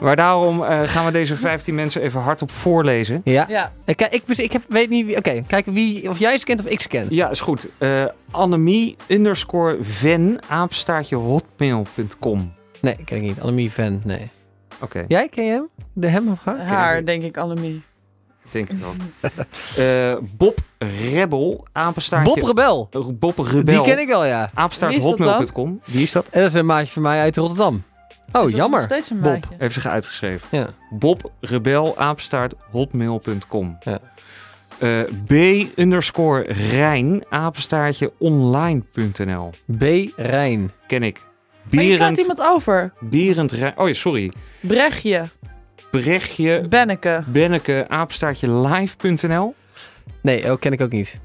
B: Maar daarom eh, gaan we deze 15 mensen even hardop voorlezen.
C: Ja.
E: Ja,
C: Ik, kijk, ik, ik heb, weet niet wie... Oké, kijk wie, of jij ze kent of ik ze ken.
B: Ja, is goed. Eh Annemie underscore ven apenstaartje hotmail.com.
C: Nee, ken ik niet. Annemie Van, nee.
B: Oké,
C: Jij, ken je hem? De hem of haar?
E: haar, denk ik,
C: Oh,
E: Annemie.
B: denk ik wel. Eh, Bob Rebel apenstaartje...
C: Bob Rebel.
B: Eh, Bob Rebel.
C: Die ken ik wel, ja.
B: apenstaart
E: Wie is dat dan?
B: hotmail.com. Wie is dat?
C: En dat is een maatje van mij uit Rotterdam. Oh,
E: Is dat
C: jammer.
E: Nog steeds een
C: Bob.
E: maatje.
B: Heeft zich uitgeschreven.
C: Ja.
B: Bob Rebel apenstaart hotmail.com.
C: Ja.
B: Eh, B underscore Rijn apenstaartje online.nl.
C: B. Rijn.
B: Ken ik.
E: Maar je slaat
B: Berend,
E: iemand over.
B: Berend Rijn. Oh ja, sorry.
E: Brechtje,
C: Eh.
B: Brechtje
E: Benneke.
B: Benneke apenstaartje live.nl.
C: Nee, oh, ken ik ook niet.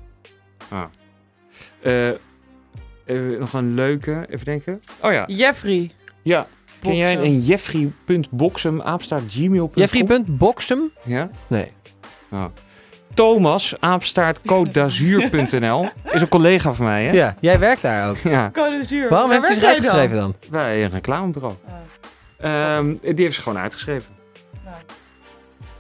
B: Eh, eh, nog een leuke, even denken. Oh ja,
E: Jeffrey.
B: ja. Ken jij
E: Boxem.
B: een jeffrey.boxem apenstaart gmail.com?
C: Jeffrey.boxem?
B: Ja.
C: Nee.
B: Thomas apenstaart code d'azur.nl. Is een collega van mij, hè?
C: Ja. jij werkt daar ook.
B: Ja,
E: Code zuur.
C: Waarom
E: Waar
C: heeft hij zich
E: werk jij dan?
C: uitgeschreven dan?
B: bij een reclamebureau.
E: Oh.
B: Ehm, die heeft ze gewoon uitgeschreven.
E: Nou.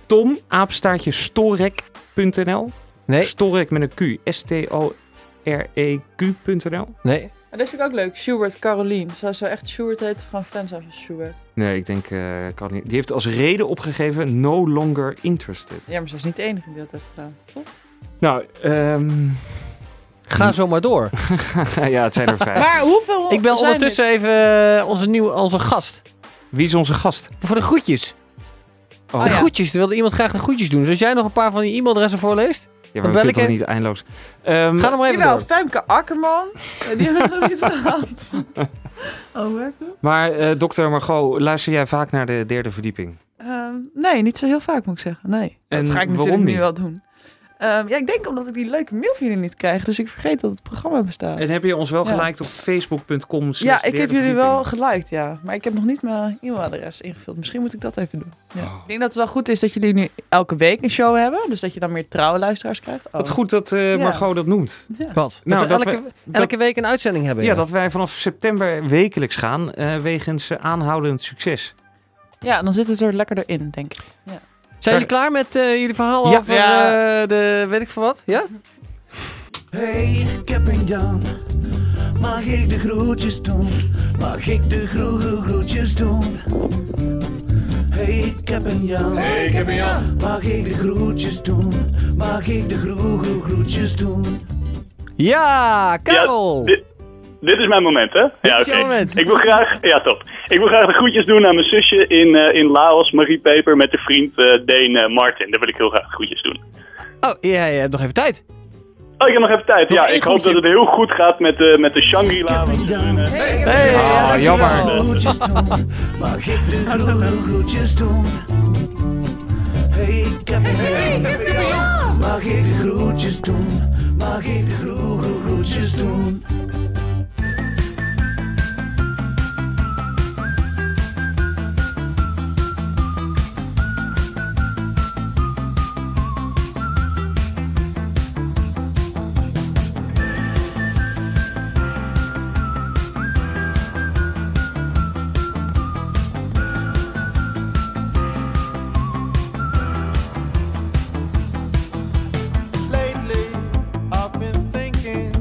B: Tom apenstaartje storek.nl.
C: Nee,
B: Storek met een Q. E S-T-O-R-E-Q.nl.
C: nee.
E: En Ah, dat vind ik ook leuk. Schubert, Caroline. Zou ze echt Schubert heten? Gewoon fan zijn van Schubert.
B: Nee, ik denk eh kan niet. Die heeft als reden opgegeven no longer interested.
E: Ja, maar ze is niet de enige die dat heeft gedaan. Toch?
B: Nou, ehm, Hm.
C: Ga zo maar door.
B: ja, het zijn er vijf.
E: Maar hoeveel
C: Ik bel
E: Oh, zijn er?
C: ondertussen even eh, onze, nieuwe, onze gast.
B: Wie is onze gast?
C: Voor de groetjes.
B: Oh,
E: Ah,
C: De
E: ja.
C: groetjes, er wilde iemand graag de groetjes doen. Dus als jij nog een paar van die e-mailadressen voorleest,
B: Ja,
C: Dan
B: maar we
C: bel
B: kunnen
C: ik
B: toch
C: hem.
B: niet eindeloos. Ehm,
C: ga er maar even
E: Jawel,
C: door.
E: Femke Akkerman. Eh, Die hebben we nog niet gehad. Oh, werkt het?
B: maar eh dokter Margot, luister jij vaak naar de derde verdieping?
E: Ehm, nee, niet zo heel vaak moet ik zeggen. Nee.
B: En
E: dat ga ik
B: waarom
E: natuurlijk nu
B: niet?
E: wel doen. Ehm, ja, ik denk omdat ik die leuke mail van jullie niet krijg. Dus ik vergeet dat het programma bestaat.
B: En heb je ons wel
E: Ja.
B: geliked op facebook.com? slash
E: ja, ik
B: derde
E: heb jullie
B: verdieping?
E: wel geliked, ja. Maar ik heb nog niet mijn e-mailadres ingevuld. Misschien moet ik dat even doen. Ja.
B: Oh.
E: Ik denk dat het wel goed is dat jullie nu elke week een show hebben. Dus dat je dan meer trouwe luisteraars krijgt. Oh.
B: Wat goed dat eh,
E: Ja.
B: Margot dat noemt.
E: Ja.
C: Wat?
B: Nou,
C: dat we
B: dat
C: elke, elke week een uitzending hebben.
B: Ja, dat wij vanaf september wekelijks gaan eh, wegens eh, aanhoudend succes.
E: ja, dan zit het er lekker erin, denk ik.
C: Zijn jullie klaar met eh, jullie verhaal
B: Ja.
C: over
E: Ja.
C: eh, de weet ik veel wat? Ja?
A: Hey, ik heb een Jan. Mag ik de groetjes doen? Mag ik de groege groetjes doen? Hey, ik heb een Jan. Hey, ik heb een Jan. Mag ik de groetjes doen? Mag ik de groege groetjes doen?
C: Ja, Karel!
H: dit- Dit is mijn moment, hè? Ja,
C: is jouw moment.
H: Ik wil graag, ja, top. Ik wil graag de groetjes doen aan mijn zusje in, eh, in Laos, Marie Peper, met de vriend eh Deen eh, Martin. Daar wil ik heel graag groetjes doen.
C: Oh, jij hebt nog even tijd.
H: Oh, ik heb nog even tijd. ja,
B: één
H: ik hoop
B: groetje.
H: dat het heel goed gaat met, de met de Shangri-La. want
A: Hey,
H: ze
A: Jan.
H: doen, eh,
C: Hey, ja, dankjewel.
B: Ah, jammer.
A: Groetjes doen? Mag ik de groege groetjes doen? Hey, ik heb een Jan. Mag ik de groetjes doen? Mag ik de groege groetjes doen?
I: Lately, I've been thinking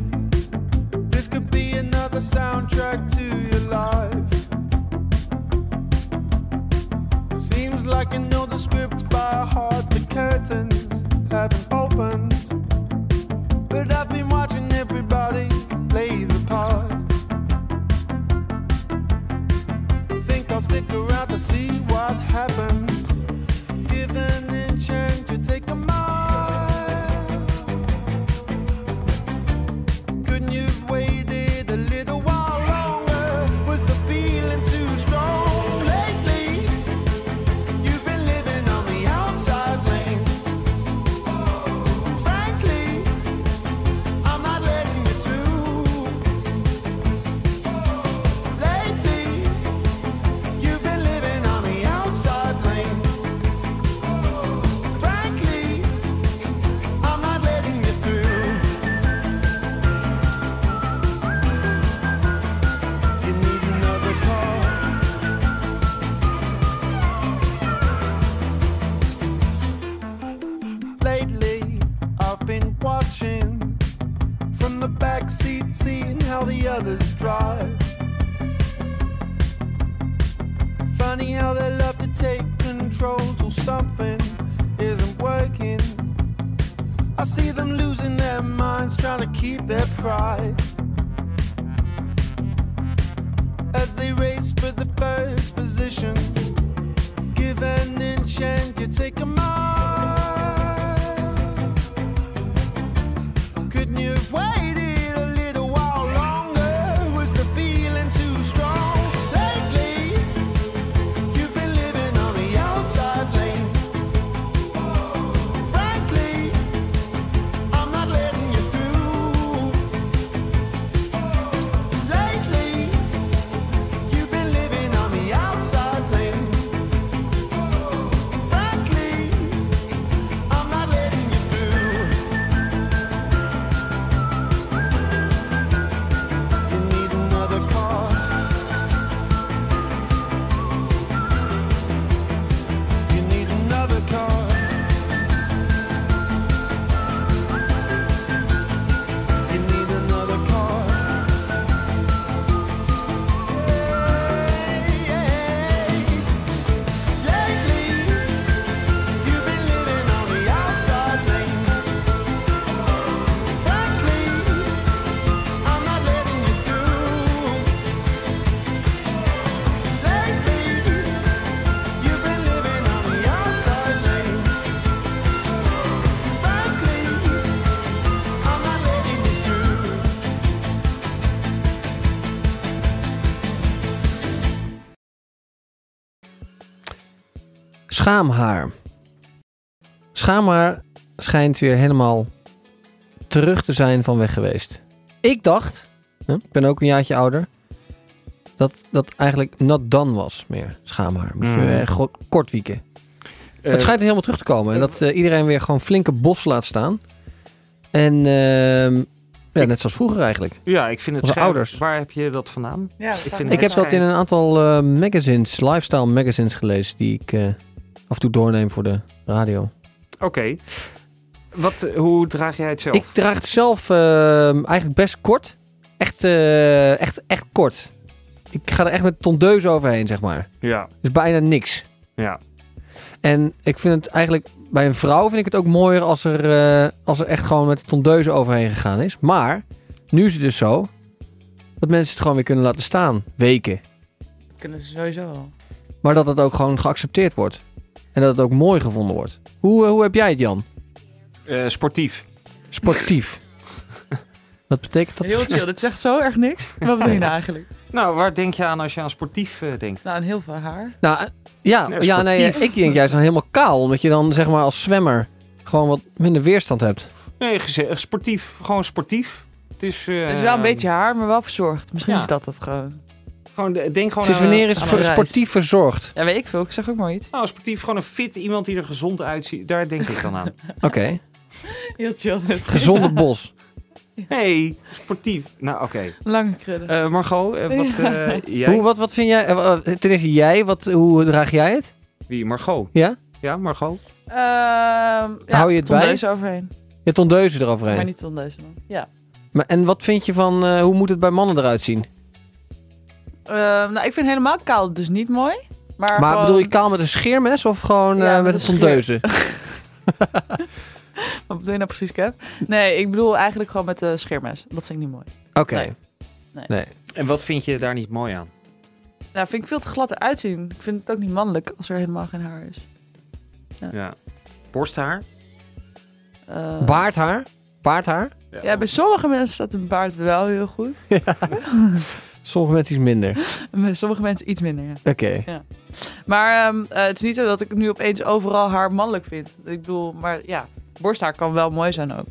I: this could be another soundtrack to your life. Seems like you know the script by heart, the curtains haven't opened. But I've been watching everybody play the part. Think I'll stick around to see what happens. Given in change, you take a mile. Couldn't you've waited a little while longer? Was the feeling too strong lately? You've been living on the outside lane. Frankly, I'm not letting you through. Lately, you've been living on the outside. funny how they love to take control till something isn't working. I see them losing their minds, trying to keep their pride. As they race for the first position, give an inch and you take a mile. Couldn't you have waited a little while longer? Was the feeling too strong lately? You've been living on the outside lane. Frankly, I'm not letting you through. Lately, you've been living on the outside lane. Frankly, I'm not letting you through. You need another car. You need another car. You need another car. Lately, you've been living on the outside lane. Frankly, I'm not letting you through. Lately, you've been living on the outside lane. Frankly, I'm not letting you through.
C: Schaamhaar. Schaamhaar schijnt weer helemaal terug te zijn van weg geweest. Ik dacht, hè, ik ben ook een jaartje ouder, dat dat eigenlijk not done was meer, schaamhaar. Moet je
B: Mm.
C: echt go- kort wieken.
B: Eh,
C: het schijnt helemaal terug te komen en dat eh, iedereen weer gewoon flinke bos laat staan. En ehm, ja,
B: Ik-
C: net zoals vroeger eigenlijk.
B: Ja, ik vind het
C: Onze
B: scherp.
C: ouders.
B: Waar heb je dat vandaan?
E: Ja,
B: Ik vind
C: Ik
B: het
C: heb dat in
B: schijnt.
C: een aantal eh, magazines, lifestyle magazines gelezen, die ik eh, af en toe doorneem voor de radio.
B: Oké. Wat, eh, hoe draag jij het zelf?
C: Ik draag het zelf ehm, eigenlijk best kort. Echt, eh, echt, echt kort. Ik ga er echt met tondeus overheen, zeg maar.
B: Ja,
C: Dus bijna niks.
B: ja.
C: En ik vind het eigenlijk... Bij een vrouw vind ik het ook mooier als er, eh, als er echt gewoon met de tondeus overheen gegaan is. Maar nu is het dus zo dat mensen het gewoon weer kunnen laten staan. Weken.
E: Dat kunnen ze sowieso wel.
C: Maar dat het ook gewoon geaccepteerd wordt. En dat het ook mooi gevonden wordt. Hoe, eh, hoe heb jij het, Jan?
B: Eh, sportief.
C: Sportief. Wat betekent dat?
E: Heel chill, dit zegt zo erg niks. Wat bedoel je nou eigenlijk?
B: Nou, waar denk je aan als je aan sportief eh, denkt?
E: Nou, een heel veel haar.
C: Nou, eh, ja,
B: Ja,
C: ja nee,
B: sportief.
C: eh, ik denk juist aan helemaal kaal. Omdat je dan zeg maar als zwemmer gewoon wat minder weerstand hebt.
B: Nee, geze- eh, sportief. Gewoon sportief. Het is, eh,
E: Dus wel een beetje haar, maar wel verzorgd. Misschien
B: ja.
E: is dat het gewoon.
B: Gewoon, de- denk gewoon
C: Sinds
B: aan een-
C: wanneer is
B: aan
C: het
B: een-
C: voor
E: reis.
C: sportief verzorgd?
E: Ja, weet ik veel. Ik zeg ook maar iets.
B: Nou, sportief. Gewoon een fit iemand die er gezond uitziet. Daar denk ik dan aan.
C: Oké,
E: Heel chill. dit.
C: gezonde bos.
B: hey, sportief. Nou, oké.
E: Lange krullen.
B: Eh, Margot, eh, wat eh, jij?
C: Hoe, wat, wat vind jij? eh, eh, Ten eerste jij, wat, hoe draag jij het?
B: Wie? Margot.
C: Ja?
B: Ja, Margot.
E: Ehm, ja,
C: Hou je het bij?
E: tondeus overheen.
C: Je tondeuzen
E: Maar
C: eroverheen.
E: niet tondeus dan. Ja.
C: Maar, en wat vind je van, eh, hoe moet het bij mannen eruit zien?
E: Ehm, nou, ik vind helemaal kaal dus niet mooi. Maar,
C: Maar
E: gewoon-
C: bedoel je kaal met een scheermes of gewoon
E: Ja,
C: eh,
E: met
C: met
E: een
C: een tondeuzen?
E: Wat bedoel je nou precies, Cap? Nee, ik bedoel eigenlijk gewoon met de scheermes. Dat vind ik niet mooi.
C: Oké.
E: Nee. Nee.
B: En wat vind je daar niet mooi aan?
E: Nou, vind ik veel te glad eruit zien. Ik vind het ook niet mannelijk als er helemaal geen haar is.
B: Ja. Borsthaar?
E: Eh,
C: Baardhaar? Baardhaar?
E: Ja, bij sommige mensen staat een baard wel heel goed.
C: Sommige mensen iets minder.
E: En bij sommige mensen iets minder, ja.
C: Oké.
E: Maar ehm, eh, het is niet zo dat ik nu opeens overal haar mannelijk vind. Ik bedoel, maar ja, borsthaar kan wel mooi zijn ook.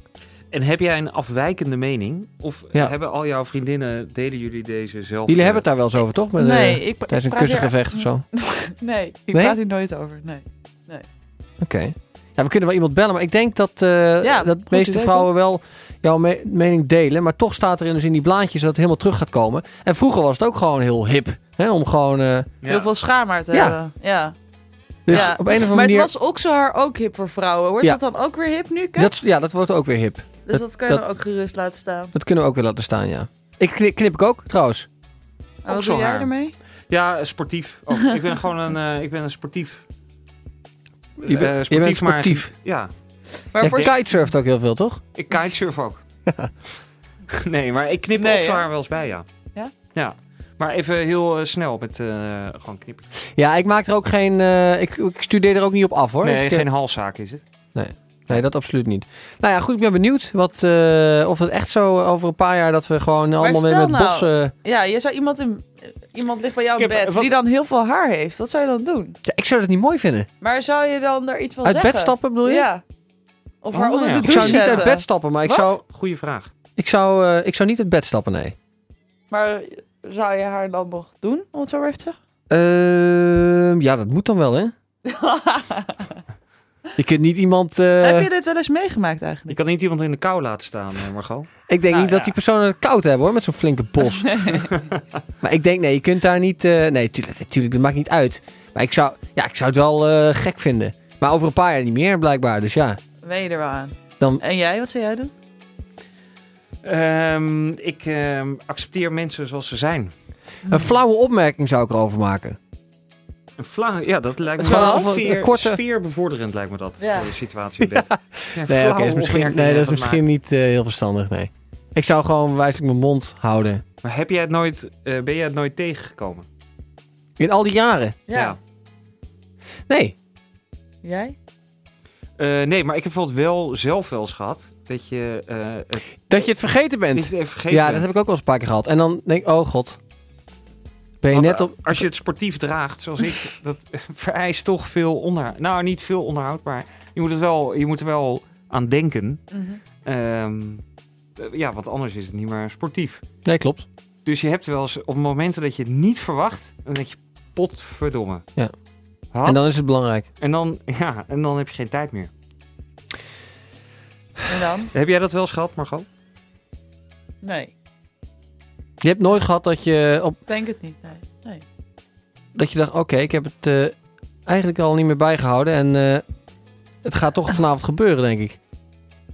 B: En heb jij een afwijkende mening? Of
C: Ja.
B: hebben al jouw vriendinnen, delen jullie deze zelf?
C: Jullie hebben het daar wel eens over, toch? Met, eh,
E: nee, ik, pra-
C: tijdens
E: ik
C: een
E: praat hier-
C: kussengevecht of zo.
E: Nee, ik
C: Nee?
E: praat hier nooit over. Nee.
C: Oké. Ja, we kunnen wel iemand bellen, maar ik denk dat, eh,
E: Ja,
C: dat de
E: goed
C: meeste
E: idee,
C: vrouwen wel jouw me- mening delen. Maar toch staat er in, dus in die blaadjes dat het helemaal terug gaat komen. En vroeger was het ook gewoon heel hip. Hè, om gewoon, eh,
B: Ja.
E: Heel veel schaamhaar te
C: Ja.
E: hebben. Ja.
C: dus
E: Ja,
C: op een of andere
E: Maar
C: manier...
E: het was ook zo haar ook hip voor vrouwen. Wordt
C: Ja.
E: dat dan ook weer hip nu? Kat?
C: dat, ja, dat wordt ook weer hip.
E: dus dat kan je
C: dat-
E: dan ook gerust laten staan.
C: Dat kunnen we ook weer laten staan, ja. Ik knip, knip ik ook, trouwens.
E: En wat
B: zo
E: doe jij
B: haar.
E: ermee?
B: Ja, sportief. ook. ik ben gewoon een, eh, ik ben een sportief.
C: Je, bent-
B: Eh,
C: je bent
B: maar-
C: sportief.
B: ja,
E: Maar
C: Jij
E: voor
C: kitesurft ook heel veel, toch?
B: ik kitesurf ook. nee, maar ik knip
E: Nee,
B: ook zo
E: hè?
B: haar wel eens bij, ja.
E: Ja?
B: Ja. Maar even heel eh, snel met eh, gewoon knippen.
C: Ja, ik maak er ook geen. eh, ik, ik studeer er ook niet op af hoor.
B: Nee,
C: Ik, eh,
B: geen halszaak is het.
C: nee, dat absoluut niet. Nou ja, goed, ik ben benieuwd wat, eh, of het echt zo over een paar jaar dat we gewoon allemaal weer
E: stel
C: met
E: nou-
C: bossen.
E: Ja, je zou iemand, in, eh, iemand ligt bij jou in
B: Ik heb-
E: bed
B: wat-
E: die dan heel veel haar heeft. Wat zou je dan doen?
C: Ja, ik zou dat niet mooi vinden.
E: Maar zou je dan daar iets van
C: uit
E: zeggen?
C: bed stappen bedoel je?
E: Ja. Of
B: Oh,
E: haar onder
B: ja.
E: de
C: Ik
E: douche
C: zou niet
E: zetten.
C: uit bed stappen, maar ik
E: Wat?
C: zou,
B: Goeie vraag.
C: ik, zou, eh, ik zou niet uit bed stappen, nee.
E: Maar zou je haar dan nog doen, om het zo maar even te zeggen?
C: Ehm, ja, dat moet dan wel, hè? je kunt niet iemand. eh,
E: Heb je dit wel eens meegemaakt
B: Je
E: eigenlijk?
B: kan niet iemand in de kou laten staan, eh, Margot.
C: Ik denk
E: Nou,
C: niet
E: ja.
C: dat die personen het koud hebben hoor, met zo'n flinke bos. maar ik denk, nee, je kunt daar niet. eh, nee, tuurlijk, tuurlijk, dat maakt niet uit. Maar ik zou, ja, ik zou het wel eh, gek vinden. Maar over een paar jaar niet meer, blijkbaar. Dus ja.
E: Ben je er wel aan?
C: Dan-
E: En jij, wat zou jij doen?
B: Ehm, ik ehm, accepteer mensen zoals ze zijn.
E: Hmm.
C: Een flauwe opmerking zou ik erover maken.
B: Een flauw, ja, dat lijkt me
C: Gewoon
B: wel
C: een-
B: sfeer,
C: een korte-
B: sfeerbevorderend lijkt me dat
E: Ja.
B: voor de situatie in bed. Ja.
C: Nee,
B: flauwe
C: oké, is misschien,
B: opmerkingen
C: nee dat is
B: gaan
C: misschien niet eh, heel verstandig, nee. Ik zou gewoon wijselijk mijn mond houden.
B: maken. Maar heb jij het nooit, eh, ben jij het nooit tegengekomen?
C: In al die jaren? Nee.
E: Jij?
B: Eh, nee, maar ik heb bijvoorbeeld wel zelf wel eens gehad dat je eh, het
C: Dat je het vergeten
B: niet
C: bent.
B: even vergeten
C: Ja, dat
B: bent.
C: heb ik ook wel eens een paar keer gehad. En dan denk ik, oh god. Ben je
B: Want,
C: net
B: eh,
C: op...
B: Als je het sportief draagt, zoals ik, dat vereist toch veel onderhoud. Nou, niet veel onderhoud, maar je moet, het wel, je moet er wel aan denken. Ehm, eh, ja, want anders is het niet meer sportief.
C: Nee, klopt.
B: Dus je hebt wel eens op momenten dat je het niet verwacht, dan denk je, potverdomme.
C: Ja.
B: Had-
C: En dan is het belangrijk.
B: en, dan, ja, en dan heb je geen tijd meer.
E: En dan?
B: Heb jij dat wel eens gehad, Margot?
E: Nee,
C: Je hebt nooit gehad dat je op
E: ik denk het niet. Nee. nee.
C: dat je dacht, oké, ik heb het eh, eigenlijk al niet meer bijgehouden en eh, het gaat toch vanavond gebeuren, denk ik.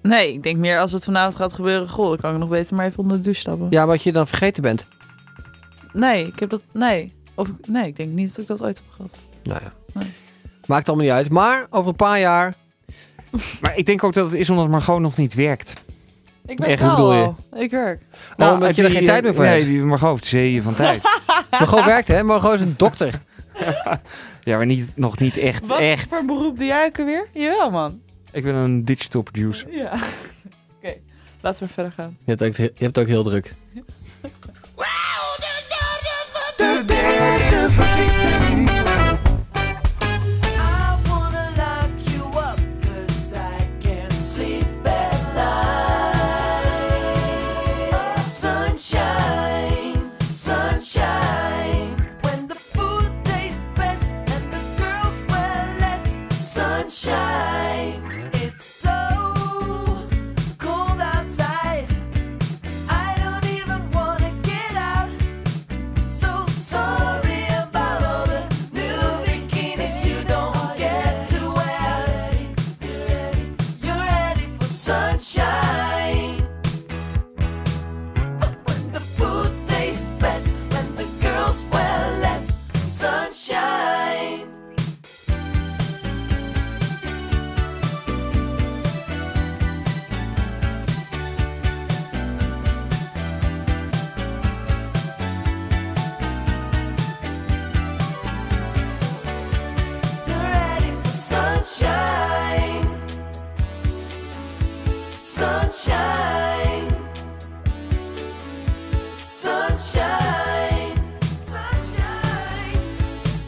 E: Nee, ik denk meer als het vanavond gaat gebeuren, goh, dan kan ik nog beter maar even onder de douche stappen.
C: Ja, wat je dan vergeten bent.
E: Nee, ik heb dat, nee. Of, ik- nee, ik denk niet dat ik dat ooit heb gehad.
C: Nou ja,
E: Nee.
C: maakt allemaal niet uit. Maar over een paar jaar,
B: Maar ik denk ook dat het is omdat Margot nog niet werkt.
E: Ik
C: werk Echt, hoe wel bedoel
E: je? Ik werk.
C: oh, Nou, omdat je er geen tijd meer voor
B: nee,
C: hebt.
B: die Margot heeft zeeën van tijd.
C: Margot werkt hè, Margot is een dokter.
B: ja, maar niet, nog niet echt,
E: Wat
B: echt.
E: voor beroep doe jij ook alweer? Jawel, man.
B: Ik ben een digital producer.
E: Ja. Oké, laten we verder gaan.
C: Je hebt ook, je hebt ook heel druk.
J: De derde verdieping.
F: I wanna lock you up 'cause I can't sleep at night. Sunshine, sunshine, when the food tastes best and the girls wear less. Sunshine, it's so cold outside. I don't even wanna get out. So sorry about all the new bikinis you don't get to wear. You're ready for sunshine. But when the food tastes best, when the girls wear less sunshine. You're ready for sunshine. Sunshine. Sunshine. Sunshine.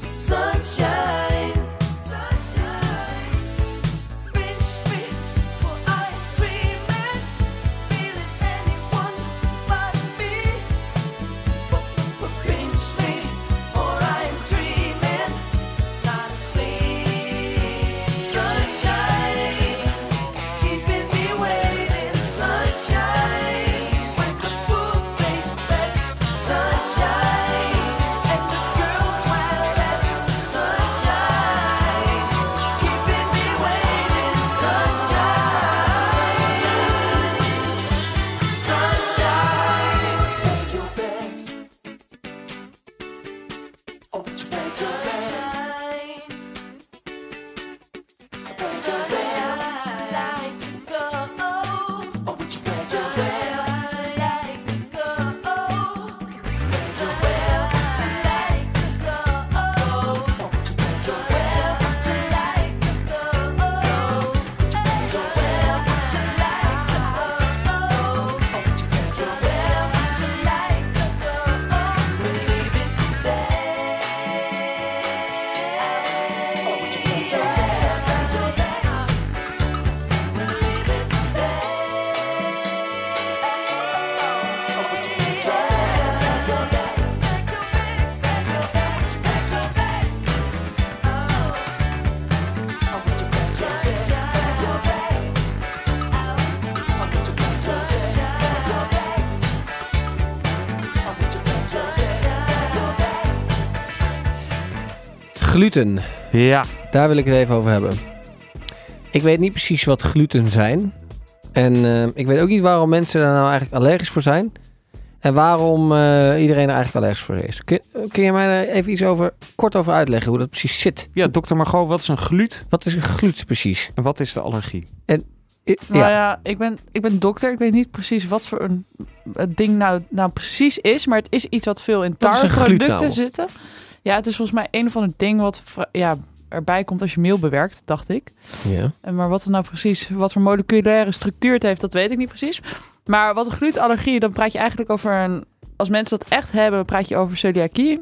F: Sunshine. Sunshine. Pinch me, for I dream and feel it anyone but me. Pinch me, for I'm dreaming, not asleep. Sunshine, keeping me waiting. Sunshine.
C: Gluten.
B: Ja.
C: Daar wil ik het even over hebben. Ik weet niet precies wat gluten zijn. En eh, ik weet ook niet waarom mensen daar nou eigenlijk allergisch voor zijn. En waarom eh, iedereen er eigenlijk allergisch voor is. Kun, eh, kun je mij daar even iets over, kort over uitleggen hoe dat precies zit?
B: Ja, dokter Margot, wat is een gluut
C: Wat is gluten precies?
B: en wat is de allergie?
C: I-
E: Nou ja,
C: ja.
E: ik, ben, ik ben dokter. Ik weet niet precies wat voor een het ding nou, nou precies is. Maar het is iets wat veel in
C: Wat is een
E: tarweproducten
C: gluten nou?
E: zitten. Ja, het is volgens mij een of ander ding wat vra- ja, erbij komt als je meel bewerkt, dacht ik.
C: ja.
E: En Maar wat het nou precies, wat voor moleculaire structuur het heeft, dat weet ik niet precies. Maar wat een glutenallergie, dan praat je eigenlijk over een... Als mensen dat echt hebben, praat je over celiakie.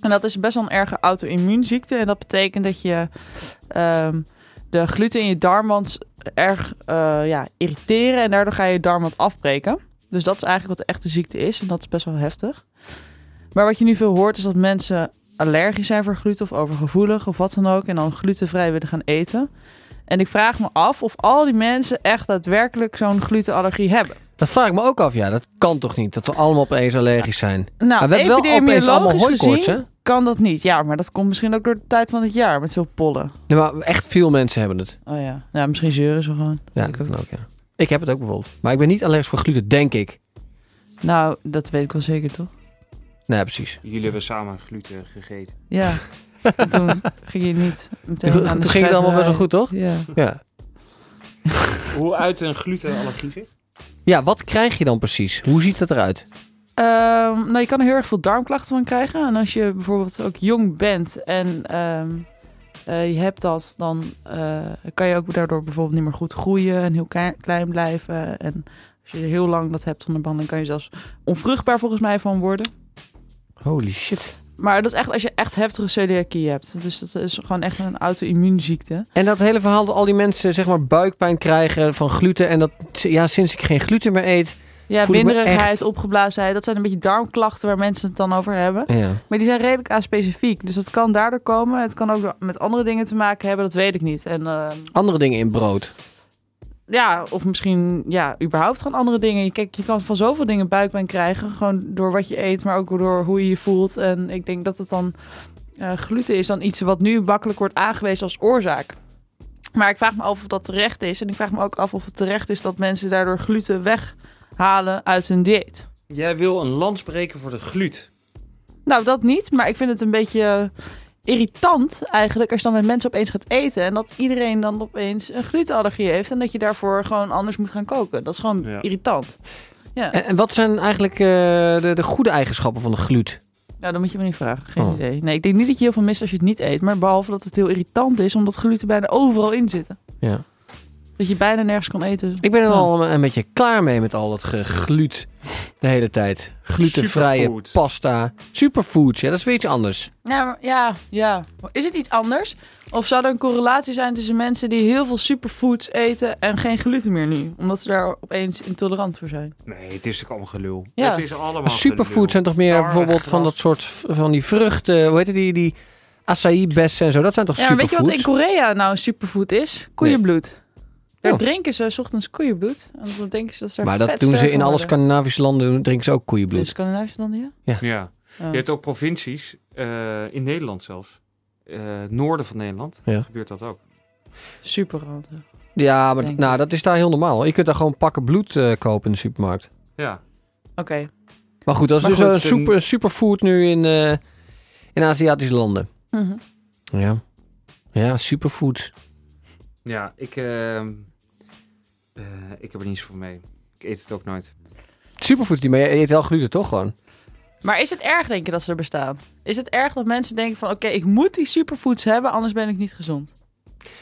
E: En dat is best wel een erge auto-immuunziekte. En dat betekent dat je ehm, de gluten in je darmwand erg eh, ja, irriteren. En daardoor ga je je darmwand afbreken. Dus dat is eigenlijk wat de echte ziekte is. En dat is best wel heftig. Maar wat je nu veel hoort, is dat mensen allergisch zijn voor gluten of overgevoelig of wat dan ook. En dan glutenvrij willen gaan eten. En ik vraag me af of al die mensen echt daadwerkelijk zo'n glutenallergie hebben.
C: Dat vraag ik me ook af. Ja, dat kan toch niet? Dat we allemaal opeens allergisch zijn.
E: Nou,
C: maar we hebben wel opeens allemaal
E: epidemiologisch
C: hooikoorts,
E: gezien
C: hè?
E: kan dat niet. Ja, maar dat komt misschien ook door de tijd van het jaar met veel pollen.
C: Nee, maar echt veel mensen hebben het.
E: Oh ja, ja misschien zeuren ze gewoon.
C: Ja, dat kan ook, ja. Ik heb het ook bijvoorbeeld. Maar ik ben niet allergisch voor gluten, denk ik.
E: Nou, dat weet ik wel zeker, toch?
C: Nee, precies.
B: Jullie hebben samen gluten gegeten.
E: Ja. En toen ging je niet meteen
C: Toen,
E: aan de
C: toen ging het allemaal best wel goed, toch?
E: Ja.
C: Ja.
B: Hoe uit een glutenallergie zit?
C: Ja, wat krijg je dan precies? Hoe ziet dat eruit?
E: Ehm, nou, je kan er heel erg veel darmklachten van krijgen. En als je bijvoorbeeld ook jong bent en ehm, eh, je hebt dat, dan eh, kan je ook daardoor bijvoorbeeld niet meer goed groeien en heel kei- klein blijven. En als je heel lang dat hebt zonder behandeling, kan je zelfs onvruchtbaar volgens mij van worden.
C: Holy shit.
E: Maar dat is echt als je echt heftige celiakie hebt. Dus dat is gewoon echt een auto-immuunziekte.
C: En dat hele verhaal dat al die mensen zeg maar buikpijn krijgen van gluten en dat ja, sinds ik geen gluten meer eet.
E: Ja,
C: Voel ik me echt-
E: winderigheid, opgeblazenheid. Dat zijn een beetje darmklachten waar mensen het dan over hebben.
C: Ja.
E: Maar die zijn redelijk aanspecifiek. Dus dat kan daardoor komen. Het kan ook door- met andere dingen te maken hebben, dat weet ik niet. En eh,
C: Andere dingen in brood.
E: ja, of misschien ja, überhaupt gewoon andere dingen. Je- Kijk, je kan van zoveel dingen buikpijn krijgen. Gewoon door wat je eet, maar ook door hoe je je voelt. En ik denk dat het dan eh, gluten is dan iets wat nu makkelijk wordt aangewezen als oorzaak. Maar ik vraag me af of dat terecht is. En ik vraag me ook af of het terecht is dat mensen daardoor gluten weghalen uit hun dieet.
B: Jij wil een lans breken voor de gluut.
E: Nou, dat niet, maar ik vind het een beetje irritant eigenlijk als je dan met mensen opeens gaat eten en dat iedereen dan opeens een glutenallergie heeft en dat je daarvoor gewoon anders moet gaan koken. Dat is gewoon
B: Ja.
E: irritant. Ja,
C: En, en wat zijn eigenlijk eh, de, de goede eigenschappen van de gluten?
E: nou dan moet je me niet vragen. Geen
C: Oh.
E: idee. Nee, ik denk niet dat je heel veel mist als je het niet eet, maar behalve dat het heel irritant is omdat gluten bijna overal in zitten.
C: Ja.
E: Dat je bijna nergens kan eten.
C: Ik ben er al een, een beetje klaar mee met al dat gegluut de hele tijd. Glutenvrije
B: Superfood.
C: pasta. Superfoods, ja, dat is weer iets anders.
E: Ja, maar- ja, ja. Maar Is het iets anders? Of zou er een correlatie zijn tussen mensen die heel veel superfoods eten en geen gluten meer nu? Omdat ze daar opeens intolerant voor zijn.
B: Nee, het is natuurlijk allemaal gelul.
E: Ja.
B: Het is allemaal
C: Superfoods
B: gelul.
C: zijn toch meer
B: Tarwe,
C: bijvoorbeeld van
B: gras.
C: dat soort v- van die vruchten, hoe heet het die, die acai bessen en zo. Dat zijn toch
E: Ja, maar weet
C: superfoods?
E: je wat in Korea nou een superfood is? Koeienbloed. Daar
C: Ja.
E: drinken ze 's ochtends koeienbloed. En dan denken ze dat ze daar
C: Oh. Maar dat
E: vet
C: doen ze
E: sterk
C: in
E: van
C: alle
E: worden.
C: Scandinavische landen, doen- drinken ze ook koeienbloed.
E: Dus Scandinavische landen, ja? Oh,
B: Ja. Je hebt ook provincies, eh, in Nederland zelfs. Eh, noorden van Nederland
C: Ja.
B: gebeurt dat ook.
E: Super.
C: ja, maar d-
E: Dus denk ik.
C: nou, dat is daar heel normaal. Je kunt daar gewoon pakken bloed eh, kopen in de supermarkt.
B: Ja.
E: Oké.
C: Maar goed, dat is
B: Maar
C: dus
B: goed, een-
C: een super, superfood nu in, eh, in Aziatische landen.
E: Mhm.
C: Ja. Ja, superfood.
B: Ja, ik, eh, eh, ik heb er niet zoveel mee. Ik eet het ook nooit.
C: Superfood, die- maar je eet wel gluten toch gewoon?
E: Maar is het erg, denk je, dat ze er bestaan? Is het erg dat mensen denken van... oké, ik moet die superfoods hebben, anders ben ik niet gezond?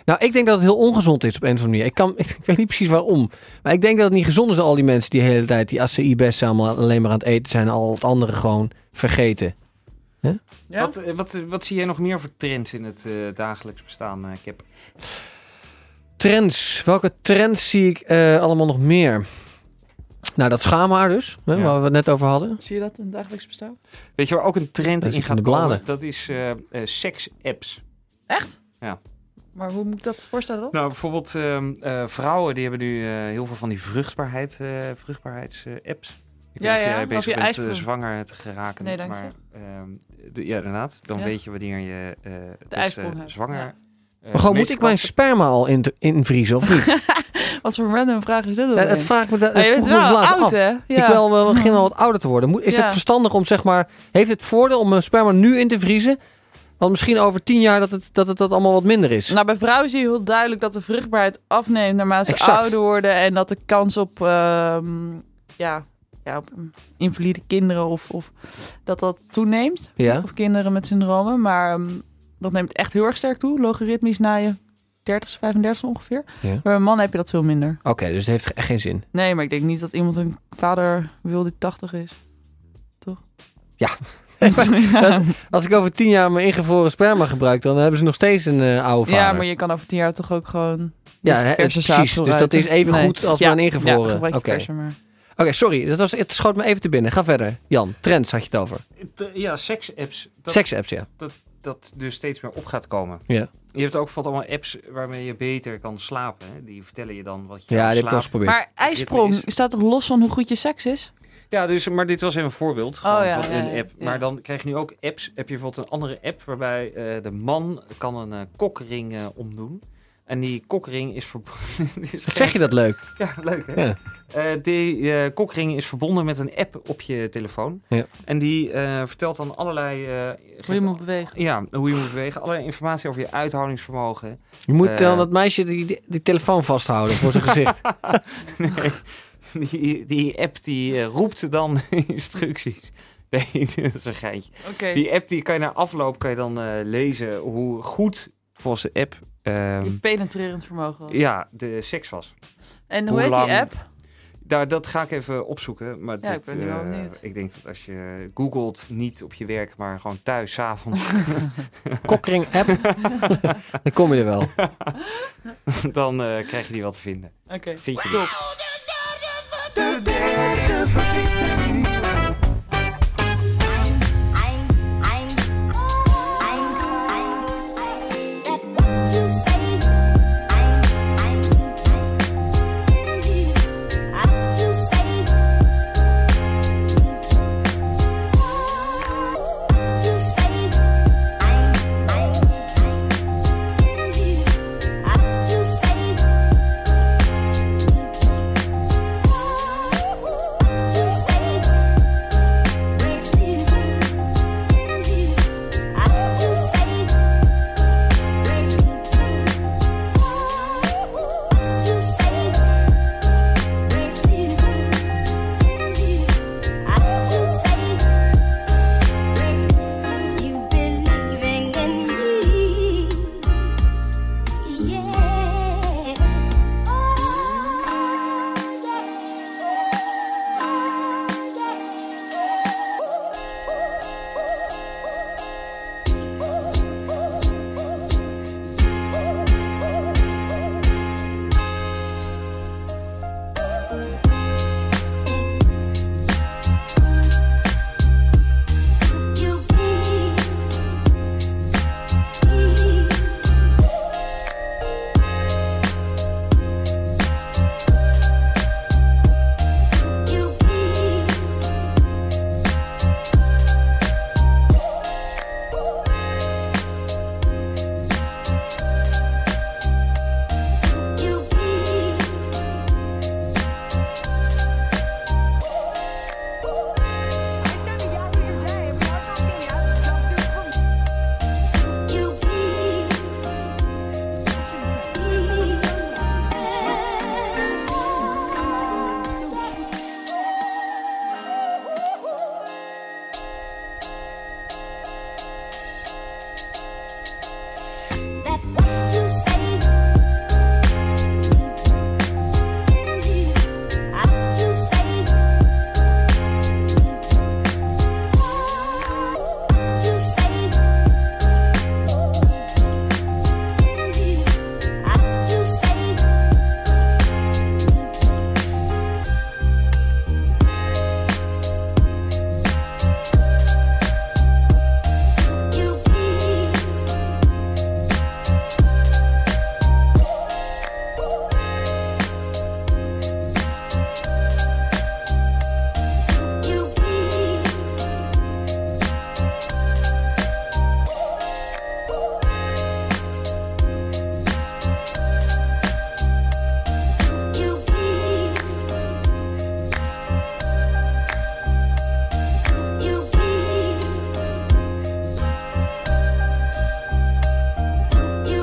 C: Nou, ik denk dat het heel ongezond is op een of andere manier. Ik, kan, ik, weet niet precies waarom. Maar ik denk dat het niet gezond is dat al die mensen die de hele tijd die acai bessen allemaal alleen maar aan het eten zijn. en Al het andere gewoon vergeten.
E: Ja?
B: Wat, eh, wat, eh, wat zie jij nog meer voor trends in het eh, dagelijks bestaan, eh Kip?
C: Trends. Welke trends zie ik eh, allemaal nog meer? Nou, dat schaamhaar dus, hè,
B: Ja.
C: waar we het net over hadden.
E: Zie je dat in het dagelijks bestaan?
B: Weet je waar ook een trend
C: Dat
B: in
C: zit in
B: gaat
C: de
B: komen?
C: bladen.
B: Dat is eh, seks-apps.
E: Echt?
B: Ja.
E: Maar hoe moet ik dat voorstellen dan?
B: Nou, bijvoorbeeld ehm, eh, vrouwen die hebben nu eh, heel veel van die vruchtbaarheid, eh, vruchtbaarheids-apps. Ik
E: Ja,
B: weet niet of
E: ja,
B: jij
E: of
B: bezig
E: je
B: bent
E: eigen-
B: eh, zwanger te geraken.
E: Nee, dank je.
B: maar, ehm, de- ja, inderdaad. Dan
E: Ja.
B: weet je wanneer je eh, dus, eh,
E: ijsprong hebt,
B: zwanger...
E: ja.
B: eh,
C: Maar gewoon, moet
B: menstruatie-
C: ik mijn sperma al in, invriezen of niet?
E: Wat voor random vraag is dit
C: Ja,
E: dan?
C: dat
E: weer?
C: vraag ik me, dat,
E: Ah,
C: dat
E: je
C: vroeg
E: bent
C: ik me dus
E: wel
C: laatst
E: oud,
C: af.
E: hè?
C: Ik wil wel begin wel wat ouder te worden. Moet- Is
E: Ja.
C: het verstandig om zeg maar... Heeft het voordeel om mijn sperma nu in te vriezen? Want misschien over tien jaar dat het dat, het, dat allemaal wat minder is.
E: Nou, bij vrouwen zie je heel duidelijk dat de vruchtbaarheid afneemt naarmate ze
C: Exact.
E: ouder worden. En dat de kans op, ehm, ja, ja, op mm, invalide kinderen of, of dat dat toeneemt.
C: ja.
E: Of kinderen met syndromen. Maar ehm, dat neemt echt heel erg sterk toe. Logaritmisch na je 30, 35 ongeveer.
C: Ja.
E: Bij een man heb je dat veel minder.
C: Oké, dus het heeft echt geen zin.
E: Nee, maar ik denk niet dat iemand een vader wil die 80 is. Toch?
C: Ja.
E: ja.
C: Als ik over tien jaar mijn ingevroren sperma gebruik, dan hebben ze nog steeds een eh, oude vader.
E: Ja, maar je kan over tien jaar toch ook gewoon...
C: Ja, hè,
E: verse
C: precies.
E: zaad gebruiken.
C: Dus dat is even goed als maar een ingevroren.
E: Ja, gebruik je
C: Oké.
E: verse maar.
C: Oké, sorry. Dat was, het schoot me even te binnen. Ga verder. Jan, trends had je het over.
B: T- Ja, seks-apps. Dat,
C: Seksapps, ja.
B: dat dus steeds meer op gaat komen.
C: Ja.
B: Je hebt ook bijvoorbeeld allemaal apps waarmee je beter kan slapen. Hè? Die vertellen je dan wat je
C: Ja,
B: aan
C: die heb ik
B: slaap...
C: al eens geprobeerd.
E: Maar ijsprong
B: Ritme
E: staat toch los van hoe goed je seks is?
B: Ja, dus, maar dit was even een voorbeeld gewoon
E: Oh, ja,
B: van
E: ja,
B: een
E: ja,
B: app.
E: ja.
B: Maar dan krijg je nu ook apps. Heb je bijvoorbeeld een andere app waarbij eh, de man kan een eh, kokring eh, omdoen. En die kokring is verbonden... is
C: Wat zeg je dat leuk?
B: Ja, leuk hè?
C: Ja.
B: Eh, die eh, kokring is verbonden met een app op je telefoon.
C: Ja.
B: En die eh, vertelt dan allerlei... eh,
E: Hoe je moet bewegen.
B: Ja, hoe je moet bewegen. Allerlei informatie over je uithoudingsvermogen.
C: Je moet
B: Eh.
C: dan dat meisje die, die, die telefoon vasthouden voor zijn gezicht.
B: Nee, die, die app die eh, roept dan instructies. Nee, dat is een geintje.
E: Oké.
B: Die app die kan je na afloop kan je dan eh, lezen hoe goed volgens de app ehm,
E: Je penetrerend vermogen. was.
B: ja, de seks was.
E: En hoe,
B: Hoe
E: heet
B: lang?
E: die app?
B: Daar, dat ga ik even opzoeken. Maar
E: Ja,
B: dit,
E: ik ben nu wel
B: eh,
E: benieuwd.
B: ik denk dat als je googelt, niet op je werk, maar gewoon thuis, 's avonds,
C: Kokkering app. dan kom je er wel.
B: dan eh, krijg je die wel te vinden.
E: Oké.
B: Vind je die?
E: Top.
F: Thank you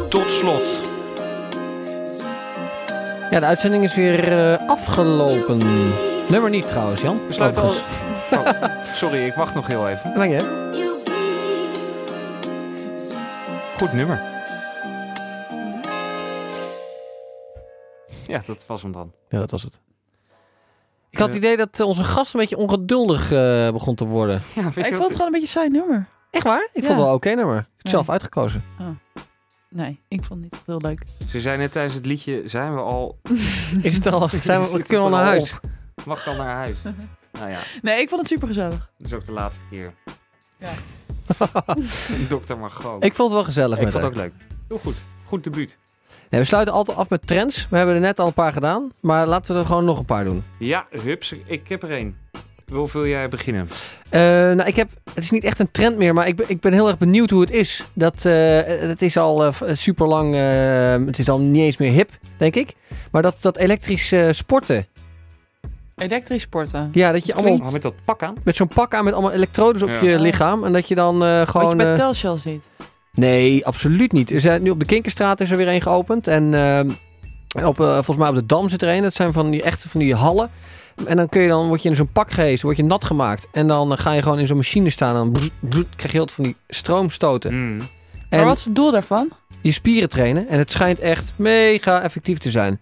F: Tot slot.
C: Ja, de uitzending is weer eh, afgelopen. Nummer niet trouwens, Jan.
B: We sluiten al...
C: Overigens.
B: Oh, sorry, ik wacht nog heel even.
C: Dank je.
B: Goed nummer. Ja, dat was hem dan.
C: Ja, dat was het. Ik had het idee dat eh, onze gast een beetje ongeduldig eh, begon te worden.
B: Ja, weet
E: Ik
B: je
E: vond het
B: wat?
E: gewoon een beetje een saai nummer.
C: Echt waar? Ik vond
E: Ja.
C: het wel een oké nummer. Ik heb het
E: Nee.
C: zelf uitgekozen.
E: Nee, ik vond het niet heel leuk.
B: Ze zijn net tijdens het liedje, zijn we al...
C: Is het al? Zijn we,
B: Zit het
C: kunnen
B: er
C: we al naar
B: al
C: huis?
B: op? Mag ik al naar huis? nou ja,
E: Nee, ik vond het super gezellig.
B: dat is ook de laatste keer.
E: Ja.
B: Dr. Margot.
C: Ik vond het wel gezellig
B: Ik
C: met
B: vond het
C: haar.
B: ook leuk. Heel goed. Goed debuut.
C: Nee, we sluiten altijd af met trends. We hebben er net al een paar gedaan. Maar laten we er gewoon nog een paar doen.
B: Ja, hups. Ik heb er één. Wil wil jij beginnen?
C: Eh, nou, ik heb, het is niet echt een trend meer, maar ik ben, ik ben heel erg benieuwd hoe het is. Dat, eh, het is al super lang, eh, het is al niet eens meer hip, denk ik. Maar dat, dat elektrisch eh, sporten.
E: Elektrisch sporten.
C: Ja, dat je allemaal
B: Oh, met dat pak aan.
C: met zo'n pak aan met allemaal elektrodes op
B: Ja.
C: je lichaam. En dat je dan eh,
E: Wat je
C: gewoon...
E: bij
C: eh,
E: Telshell ziet.
C: Nee, absoluut niet. Er zijn, nu op de Kinkerstraat is er weer een geopend. En ehm, op, eh, volgens mij op de Dam zit er een. Dat zijn van die echte van die hallen. En dan, kun je dan word je in zo'n pak gehezen, word je nat gemaakt. En dan eh, ga je gewoon in zo'n machine staan. En dan broet, broet, krijg je heel veel van die stroomstoten.
B: Mm.
E: Maar
C: En
E: wat is het doel daarvan?
C: je spieren trainen. En het schijnt echt mega effectief te zijn.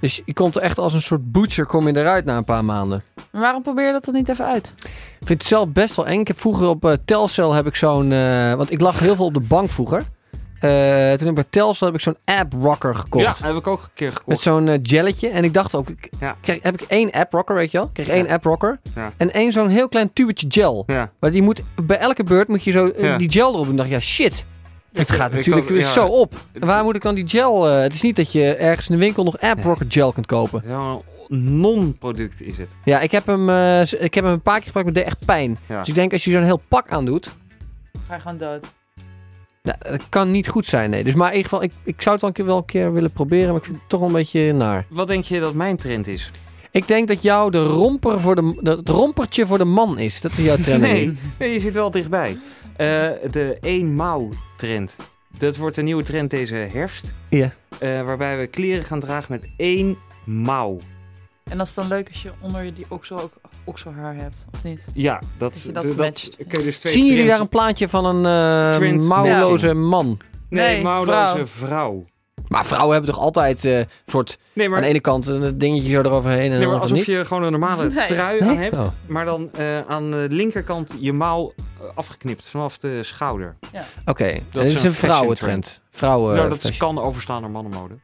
C: Dus je komt er echt als een soort butcher kom je eruit na een paar maanden.
E: Maar waarom probeer je dat dan niet even uit?
C: Ik vind het zelf best wel eng. Ik heb vroeger op eh, Telcel heb ik zo'n... eh, want ik lag heel veel op de bank vroeger. Eh, toen heb ik bij Telcel heb ik zo'n app rocker gekocht.
B: Ja, heb ik ook een keer gekocht.
C: Met zo'n eh, gelletje. En ik dacht ook, ik,
B: Ja.
C: krijg, heb ik één app rocker, weet je wel? Ik kreeg één app rocker.
B: Ja.
C: En één zo'n heel klein tubetje gel.
B: Ja.
C: Maar die moet, bij elke beurt moet je zo eh,
B: Ja.
C: die gel erop doen. Ik dacht, ja shit. Het gaat
B: ik
C: natuurlijk
B: kan-
C: weer
B: ja.
C: zo op. En Waar moet ik dan die gel... eh, het is niet dat je ergens in de winkel nog app rocker gel kunt kopen.
B: Zo'n non-product is het.
C: Ja, ik heb hem, eh, z- ik heb hem een paar keer gebruikt, maar het deed echt pijn.
B: Ja.
C: Dus ik denk, als je zo'n heel pak aandoet...
E: Ga je gewoon dood.
C: Nou, dat kan niet goed zijn, nee. Dus maar in ieder geval, ik, ik zou het wel een, keer, wel een keer willen proberen, maar ik vind het toch wel een beetje naar.
B: Wat denk je dat mijn trend is?
C: Ik denk dat jou de romper voor de, dat het rompertje voor de man is. Dat is jouw trend.
B: Nee, nee, je zit wel dichtbij. Eh, de eenmouw-trend. Dat wordt een nieuwe trend deze herfst.
C: Ja.
B: Eh, waarbij we kleren gaan dragen met één mouw.
E: En dat is dan leuk als je onder je die oksel ook okselhaar hebt, of niet?
B: Ja, dat,
E: Dat je dat matcht.
B: kun je dus twee
C: Zien jullie
B: trends-
C: daar een plaatje van een eh,
B: Trends
C: mouwloze man?
B: Nee,
E: Nee,
B: mouwloze vrouw.
C: Maar vrouwen hebben toch altijd eh, een soort,
B: Nee, maar,
C: aan de ene kant een dingetje zo eroverheen en
B: nee,
C: dan
B: maar
C: aan de andere
B: alsof
C: niet.
B: je gewoon een normale
E: Nee.
B: trui
C: Nee?
B: aan hebt.
C: Oh.
B: Maar dan eh, aan de linkerkant je mouw eh, afgeknipt vanaf de schouder.
C: Oké, en dit
B: is
C: is
B: een
C: een vrouwentrend. Vrouwen
B: nou, dat
C: fashion.
B: kan overslaan naar mannenmode.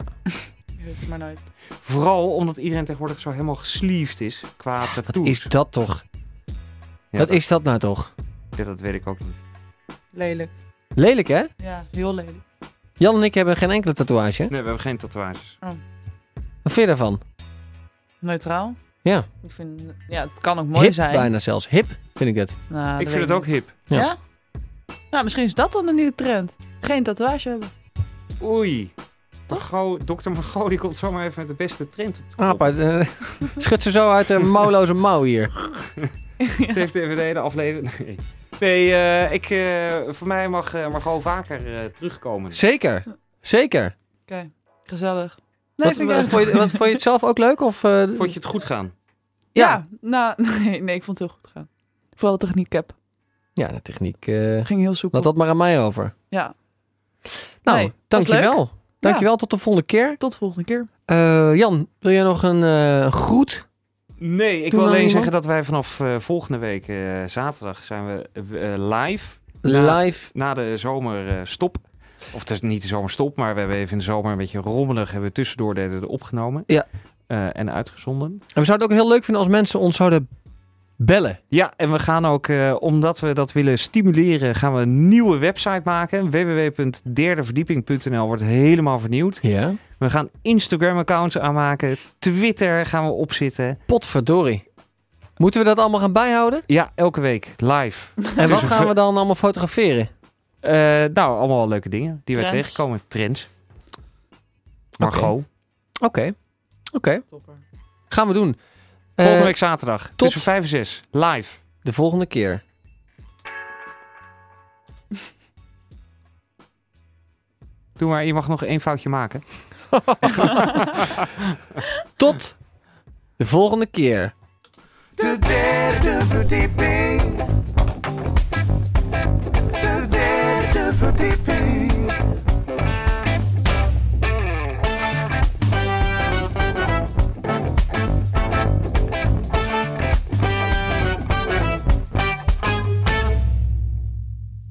E: Ik weet het maar nooit.
B: Vooral omdat iedereen tegenwoordig zo helemaal gesleeved is qua
C: Ah, Wat
B: tattoos.
C: is dat toch?
B: Ja,
C: Wat
B: dat-
C: is dat nou toch?
B: ja, dat weet ik ook niet.
E: Lelijk.
C: Lelijk, hè?
E: Ja, heel lelijk.
C: Jan en ik hebben geen enkele tatoeage.
B: Nee, we hebben geen tatoeages.
C: Wat vind je daarvan?
E: Neutraal.
C: Ja.
E: Ik vind, ja, het kan ook mooi
C: hip
E: zijn.
C: bijna zelfs. Hip vind ik het.
E: Nou, dat
B: ik
E: weet
B: vind het ook
E: niet.
B: hip.
C: Ja.
E: Ja. Nou, misschien is dat dan een nieuwe trend. Geen tatoeage hebben.
B: Oei. Margot, Dr. Margot die komt zomaar even met de beste trend op de kop.
C: Aap uit, eh, schud ze zo uit de mouwloze mouw hier.
B: Het heeft even de hele aflevering... Nee, nee eh, ik, eh, voor mij mag eh, Margot vaker eh, terugkomen.
C: Zeker. Zeker.
E: Oké, gezellig. Nee,
C: Wat,
E: vind
C: wat
E: ik echt-
C: vond je, wat, vond je het zelf ook leuk? Of, eh,
B: Vond je het goed gaan?
E: ja.
C: ja.
E: nou, nee, nee, ik vond het heel goed gaan. Vooral de techniek heb.
C: ja, de techniek. eh
E: Het ging heel soepel.
C: laat dat maar aan mij over.
E: Ja,
C: Nou,
E: Nee, was
C: dankjewel. Dankjewel, tot de volgende keer.
E: tot de volgende keer.
C: Eh, Jan, wil jij nog een eh groet?
B: Nee, ik wil
C: Doe nou
B: alleen
C: iemand.
B: zeggen dat wij vanaf eh, volgende week eh, zaterdag zijn we eh, live Ja.
C: Live.
B: na de zomerstop. of het is niet de zomerstop, maar we hebben even in de zomer een beetje rommelig. Hebben we tussendoor de hele tijd opgenomen
C: Ja.
B: Eh, en uitgezonden.
C: En we zouden het ook heel leuk vinden als mensen ons zouden bellen.
B: Ja, en we gaan ook, eh, omdat we dat willen stimuleren, gaan we een nieuwe website maken. www.derdeverdieping.nl wordt helemaal vernieuwd.
C: Ja.
B: We gaan Instagram-accounts aanmaken. Twitter gaan we opzitten.
C: Potverdorie. Moeten we dat allemaal gaan bijhouden?
B: Ja, elke week live.
C: En wat
B: een
C: gaan
B: ver-
C: we dan allemaal fotograferen?
B: Eh, nou, allemaal leuke dingen die we
E: Trends.
B: tegenkomen. Trends. Margot.
C: Oké. Oké.
E: Topper.
C: Gaan we doen.
B: Volgende
C: Eh,
B: week zaterdag tussen 5 en 6. Live.
C: De volgende keer.
B: Doe maar, je mag nog één foutje maken.
C: Tot de volgende keer.
A: De derde verdieping.